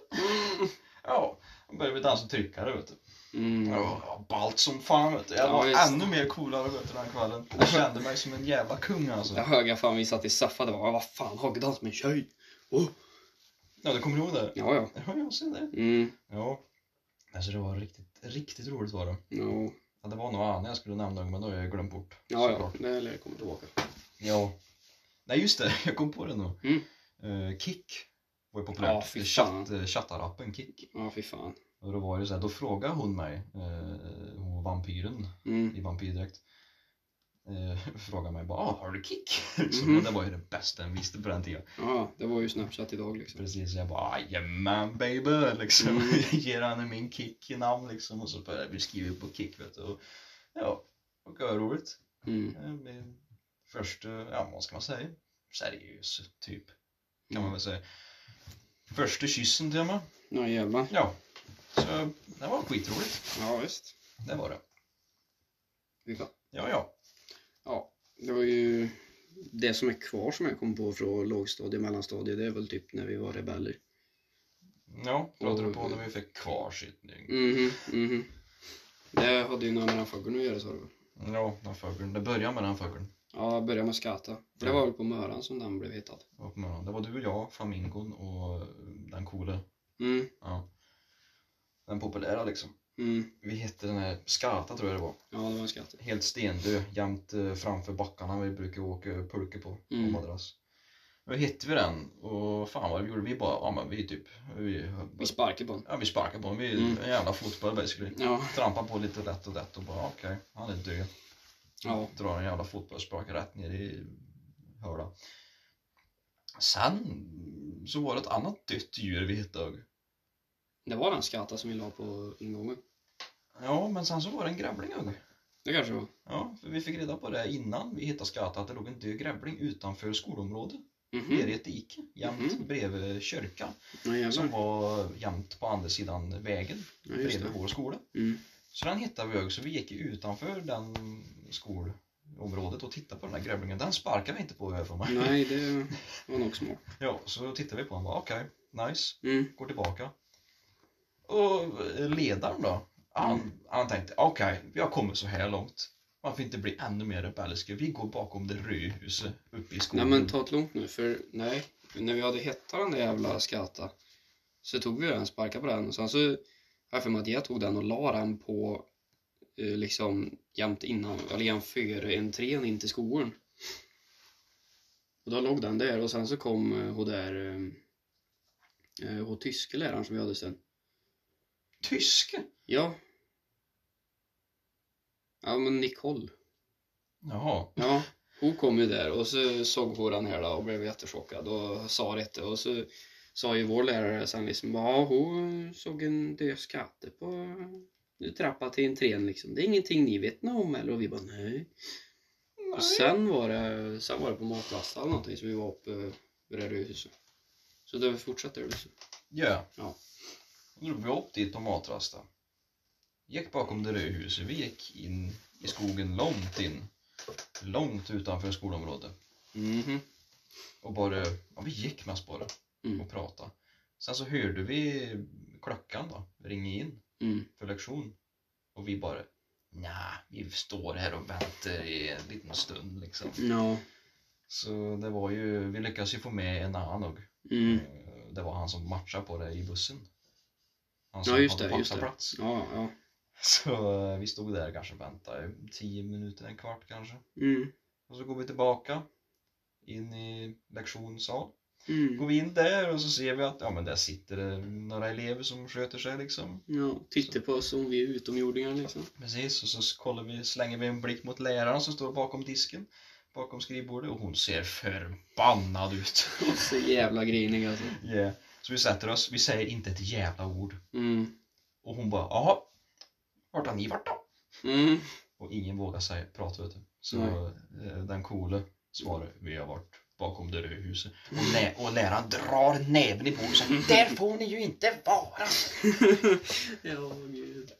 Speaker 2: Ja, då började vi dansa och trycka det vet du.
Speaker 1: Mm.
Speaker 2: Ja, jag ballt som fan vet du. Jag
Speaker 1: Ja,
Speaker 2: var
Speaker 1: visst.
Speaker 2: ännu mer coolare vet du, den här kvällen. Jag kände mig som en jävla kung alltså.
Speaker 1: Jag hög jag fan vi satt i soffan och bara vad fan hoggdans med en tjej? Oh.
Speaker 2: Ja, du kommer ihåg det?
Speaker 1: Ja, ja.
Speaker 2: Ja, jag ser det.
Speaker 1: Mm.
Speaker 2: Ja. Alltså det var riktigt, riktigt roligt var det.
Speaker 1: No.
Speaker 2: Ja, det var nog annat jag skulle nämna men då har jag glömt bort.
Speaker 1: Ja, ja.
Speaker 2: såklart.
Speaker 1: Det lär jag komma tillbaka.
Speaker 2: Ja. Nej just det, <laughs> jag kom på det nu.
Speaker 1: Mm.
Speaker 2: Eh, Kick var ju populärt.
Speaker 1: Ja, fy
Speaker 2: Chatt, eh, chattarappen Kick.
Speaker 1: Ja, fy fan.
Speaker 2: Och då var det så här, då frågade hon mig, eh, hon var vampyren
Speaker 1: Mm.
Speaker 2: i vampyrdräkt. Eh, <laughs> frågade mig bara ah, har du kick? <laughs> Liksom,
Speaker 1: Mhm.
Speaker 2: men Det var ju det bästa jag visste på den tiden.
Speaker 1: Ja, det var ju Snapchat idag liksom.
Speaker 2: Precis, jag bara jajamän baby <laughs> liksom.
Speaker 1: Mm.
Speaker 2: Ger henne min kick i namn liksom och så började vi skriva på kick vet du. Och, ja, och roligt.
Speaker 1: Mm.
Speaker 2: Eh, min Första, ja vad ska man säga? Seriös typ kan man väl säga. Första kyssen till och med.
Speaker 1: Ja, jävlar.
Speaker 2: Ja, så det var skitroligt.
Speaker 1: Ja, visst.
Speaker 2: Det var det.
Speaker 1: Fy fan.
Speaker 2: Ja, ja.
Speaker 1: Det var ju det som är kvar som jag kom på från lågstadiet, mellanstadiet, det är väl typ när vi var rebeller.
Speaker 2: Ja, pratar du på när vi fick kvarsittning?
Speaker 1: Mhm, mhm. Det hade ju något med den fågeln att göra sa du
Speaker 2: Ja, den fågeln. Det började med den fågeln.
Speaker 1: Ja, börja med skata. För det var väl på Möran som den blev hittad.
Speaker 2: Och på morgonen. Det var du, jag, flamingon och eh, den coola.
Speaker 1: Mm,
Speaker 2: Ja. Den populära liksom.
Speaker 1: mm.
Speaker 2: Vi hette den här Skata tror jag det var.
Speaker 1: Ja, det var en skata.
Speaker 2: Helt stendö, jämt eh, framför backarna vi brukar åka pulka på.
Speaker 1: Mm.
Speaker 2: På madrass. Då hittade vi den och fan vad vi gjorde. Vi bara, ja men vi typ, vi,
Speaker 1: Vi sparkade på den.
Speaker 2: ja, vi sparkade på den. Vi
Speaker 1: Mm.
Speaker 2: en jävla fotboll basically.
Speaker 1: Ja,
Speaker 2: Trampade på lite rätt och rätt och bara okej, han är död.
Speaker 1: ja.
Speaker 2: drar en jävla fotbollsspråk rätt ner i hörda. Sen så var det ett annat dött djur vi hittade.
Speaker 1: Det var den skata som vi la på ingången.
Speaker 2: Ja, men sen så var det en grävling också.
Speaker 1: Det kanske det var.
Speaker 2: Ja, för vi fick reda på det innan vi hittade skatta att det låg en död grävling utanför skolområdet. Nere
Speaker 1: Mhm.
Speaker 2: i ett dike, jämt
Speaker 1: Mhm.
Speaker 2: bredvid kyrkan.
Speaker 1: Ja,
Speaker 2: Som
Speaker 1: jävlar.
Speaker 2: var jämt på andra sidan vägen,
Speaker 1: Ja, just
Speaker 2: bredvid
Speaker 1: det.
Speaker 2: vår skola.
Speaker 1: Mm.
Speaker 2: Så den hittade vi också, så vi gick ju utanför den skolområdet och tittade på den här grävlingen. Den sparkade vi inte på, har jag för mig.
Speaker 1: Nej, det var nog smart.
Speaker 2: Ja, så tittade vi på honom och bara okej, nice,
Speaker 1: Mm.
Speaker 2: går tillbaka. Och ledaren då, han, han tänkte okej, vi har kommit så här långt. Varför inte bli ännu mer rebelliska? Vi går bakom det röda huset uppe i
Speaker 1: Nej
Speaker 2: skogen.
Speaker 1: men ta det lugnt nu för nej, när vi hade hittat den där jävla skata så tog vi den, sparkade på den och sen så har jag för mig att jag tog den och la den på eh, liksom jämt innan, eller jämt före entrén in till skogen. Och då låg den där och sen så kom eh, hon där, eh, eh, hon tyske läraren som vi hade sen.
Speaker 2: Tyske?
Speaker 1: Ja. Ja men Nicole.
Speaker 2: Jaha.
Speaker 1: Ja, hon kom ju där och så såg hon den här då och blev jättechockad och sa detta och så sa ju vår lärare sen liksom ja hon såg en död skatte på trappan till entrén liksom. Det är ingenting ni vet något om eller? Och vi bara nej.
Speaker 2: Nej.
Speaker 1: Och sen var det, sen var det på matlastan eller någonting som vi var uppe vid det huset. Så det fortsatte det liksom.
Speaker 2: Ja.
Speaker 1: Ja.
Speaker 2: Då drog vi upp dit på matrasten. Gick bakom det röda huset, vi gick in i skogen långt in. Långt utanför skolområdet.
Speaker 1: Mhm.
Speaker 2: och bara, ja, vi gick mest bara
Speaker 1: Mm.
Speaker 2: och pratade. Sen så hörde vi klockan då ringa in
Speaker 1: Mm.
Speaker 2: för lektion och vi bara, nja, vi står här och väntar i en liten stund liksom.
Speaker 1: Ja.
Speaker 2: Så det var ju, vi lyckades ju få med en annan nog.
Speaker 1: Mm.
Speaker 2: Eh, Det var han som matchade på det i bussen. Han
Speaker 1: Ja just
Speaker 2: hade
Speaker 1: det, just
Speaker 2: maxat
Speaker 1: det.
Speaker 2: plats. <laughs>
Speaker 1: Ja, ja.
Speaker 2: Så eh, vi stod där och kanske väntade i 10 minuter, en kvart kanske.
Speaker 1: Mm.
Speaker 2: Och så går vi tillbaka in i lektionssal.
Speaker 1: Mm.
Speaker 2: Går vi in där och så ser vi att ja, men där sitter det några elever som sköter sig liksom.
Speaker 1: Ja, tittar på oss som vi är utomjordingar <laughs> liksom.
Speaker 2: Precis, och så kollar vi, slänger vi en blick mot läraren som står bakom disken, bakom skrivbordet och hon ser förbannad ut. <laughs>
Speaker 1: Och så jävla grinig alltså.
Speaker 2: yeah. Så vi sätter oss, vi säger inte ett jävla ord.
Speaker 1: Mm.
Speaker 2: Och hon bara jaha, vart har ni varit då?
Speaker 1: Mm.
Speaker 2: Och ingen vågar säga, prata vet du. Så eh, den coole svarar vi har varit bakom det röda huset. Och, lä- och läraren drar näven i bordet och säger där får ni ju inte vara!
Speaker 1: ja, gud.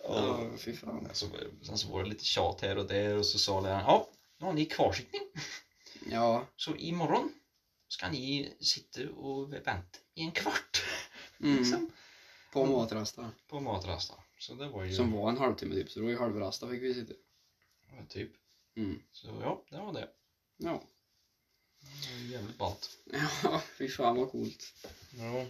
Speaker 2: Och-
Speaker 1: Ja, fy fan.
Speaker 2: Alltså, sen så var det lite tjat här och där och så sa läraren ja, nu har ni kvarsittning
Speaker 1: Ja.
Speaker 2: så imorgon ska ni sitta och vänta i en kvart <laughs>
Speaker 1: Mm.
Speaker 2: liksom,
Speaker 1: På matrasta.
Speaker 2: på matrasten. Så det var ju
Speaker 1: Som var en halvtimme typ, så det var ju halvrasta fick vi sitta.
Speaker 2: ja, typ.
Speaker 1: Mm.
Speaker 2: Så ja, det var det.
Speaker 1: Ja. <laughs>
Speaker 2: Det var ju jävligt ballt.
Speaker 1: Ja, fy fan vad coolt.
Speaker 2: Ja. Och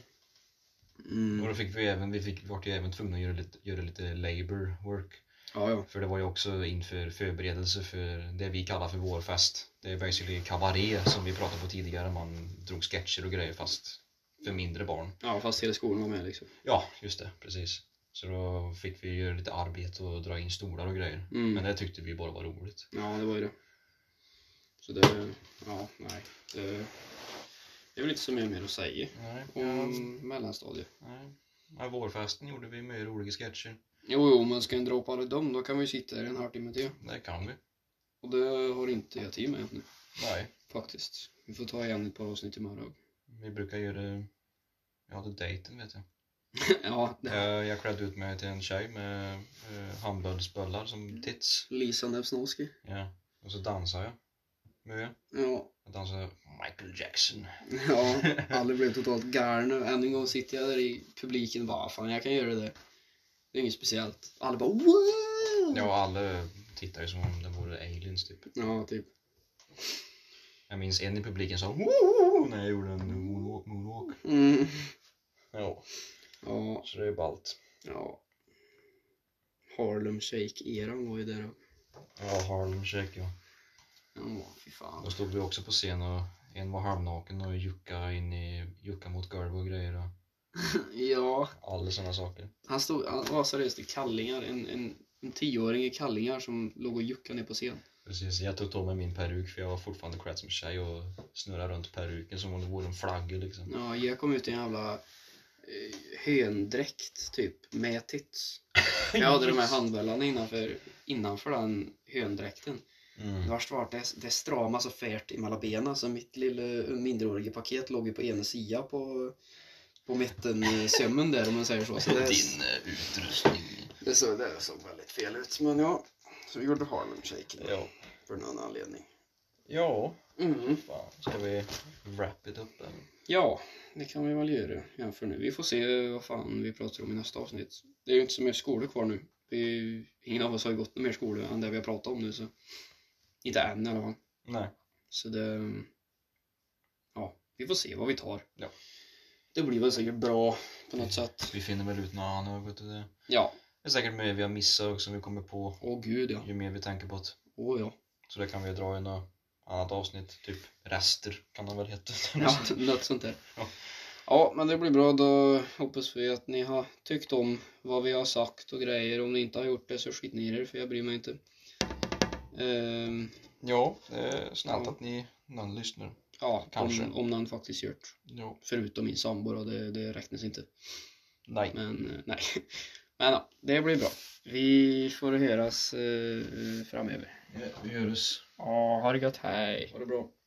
Speaker 1: Mm.
Speaker 2: då fick vi även, vi fick, vart ju även tvungna att göra lite, göra lite labor work.
Speaker 1: Ja, ja.
Speaker 2: För det var ju också inför förberedelse för det vi kallar för vårfest. Det är basically kabaré som vi pratade på tidigare. Man drog sketcher och grejer fast för mindre barn.
Speaker 1: Ja, fast hela skolan var med liksom.
Speaker 2: Ja, just det, precis. Så då fick vi göra lite arbete och dra in stolar och grejer. Men
Speaker 1: Mm.
Speaker 2: det tyckte vi bara var roligt.
Speaker 1: Ja, det var ju det. Så det, ja, nej. Det, det är väl inte så mycket mer att säga
Speaker 2: Nej,
Speaker 1: om mellanstadiet.
Speaker 2: nej. nej vårfesten gjorde vi med roliga sketcher.
Speaker 1: Jo, jo, men ska en droppa alla dem, då kan vi ju sitta här en halvtimme till.
Speaker 2: Det kan vi.
Speaker 1: Och det har inte jag tid med nu,
Speaker 2: Nej.
Speaker 1: faktiskt. Vi får ta igen ett par avsnitt imorgon. <laughs>
Speaker 2: Vi brukar göra... Jag hade dejten vet jag.
Speaker 1: ja, det här.
Speaker 2: Jag, jag klädde ut mig till en tjej med eh, handböljsböllar som tits.
Speaker 1: Lisa Nevsnovsky.
Speaker 2: Ja. Och så dansade jag. Mycket.
Speaker 1: Ja,
Speaker 2: Jag dansade Michael <laughs> Jackson.
Speaker 1: ja. Alla blev totalt galna. Än en gång sitter jag där i publiken bara, "Ah, fan jag kan göra det. Det är inget speciellt. Alla bara, wow!
Speaker 2: Ja, och alla tittade ju som om det vore aliens typ.
Speaker 1: ja typ.
Speaker 2: Jag minns en i publiken som Woo! när jag gjorde en moonwalk. moonwalk.
Speaker 1: Mm.
Speaker 2: Ja,
Speaker 1: Ja,
Speaker 2: så det är ballt.
Speaker 1: ja. Harlem Shake-eran var ju där då.
Speaker 2: Ja, Harlem Shake ja.
Speaker 1: Ja, fy fan.
Speaker 2: Då stod vi också på scen och en var halvnaken och juckade in i, juckade mot golv och grejer och
Speaker 1: Ja,
Speaker 2: alla sådana saker.
Speaker 1: han stod, han var seriöst i kallingar. En, en, en tioåring i kallingar som låg och juckade ner på scen.
Speaker 2: Precis, jag tog av mig min peruk för jag var fortfarande klädd som tjej och snurrade runt peruken som om det vore en flagga liksom.
Speaker 1: Ja, jag kom ut i en jävla eh, höndräkt typ, med
Speaker 2: <laughs>
Speaker 1: tits. Jag hade de här handbällarna innanför, innanför den höndräkten.
Speaker 2: Mm.
Speaker 1: Värst var att det, det stramade så färt emellan benen så mitt lilla mindreåriga paket låg ju på ena sidan på, på mitten eh, sömmen där om man säger så. så det,
Speaker 2: Din eh, utrustning.
Speaker 1: det, såg, det såg väldigt fel ut men ja. Så vi gjorde Harlem Shake
Speaker 2: Ja.
Speaker 1: för någon anledning.
Speaker 2: Ja,
Speaker 1: Mm.
Speaker 2: fan. Ska vi wrap it up eller?
Speaker 1: Ja, det kan vi väl göra jämför nu. Vi får se vad fan vi pratar om i nästa avsnitt. Det är ju inte så mycket skolor kvar nu. Vi, ingen av oss har ju gått några mer skolor än det vi har pratat om nu så. Inte än i alla fall.
Speaker 2: Nej.
Speaker 1: Så det... Ja, vi får se vad vi tar.
Speaker 2: Ja.
Speaker 1: Det blir väl säkert bra på något sätt.
Speaker 2: Vi finner väl ut något annat, vet du det.
Speaker 1: Ja,
Speaker 2: Det är säkert mycket vi har missat och som vi kommer på
Speaker 1: åh gud ja.
Speaker 2: ju mer vi tänker på det.
Speaker 1: Åh ja.
Speaker 2: Så det kan vi dra i något annat avsnitt, typ rester kan det väl heta.
Speaker 1: ja något sånt där.
Speaker 2: Ja.
Speaker 1: Ja, men det blir bra. Då hoppas vi att ni har tyckt om vad vi har sagt och grejer. Om ni inte har gjort det så skit ner er för jag bryr mig inte. Ehm,
Speaker 2: <laughs> Ja, det är snällt
Speaker 1: Ja.
Speaker 2: att ni någon lyssnar.
Speaker 1: ja,
Speaker 2: Kanske.
Speaker 1: Om, om någon faktiskt gjort.
Speaker 2: Ja.
Speaker 1: Förutom min sambo då, det, det räknas inte.
Speaker 2: Nej.
Speaker 1: Men eh, nej. <laughs> Men ja, det blir bra. Vi får höras eh, framöver.
Speaker 2: Vi hörs.
Speaker 1: Ja, ha det gött. Hej.
Speaker 2: Ha det bra.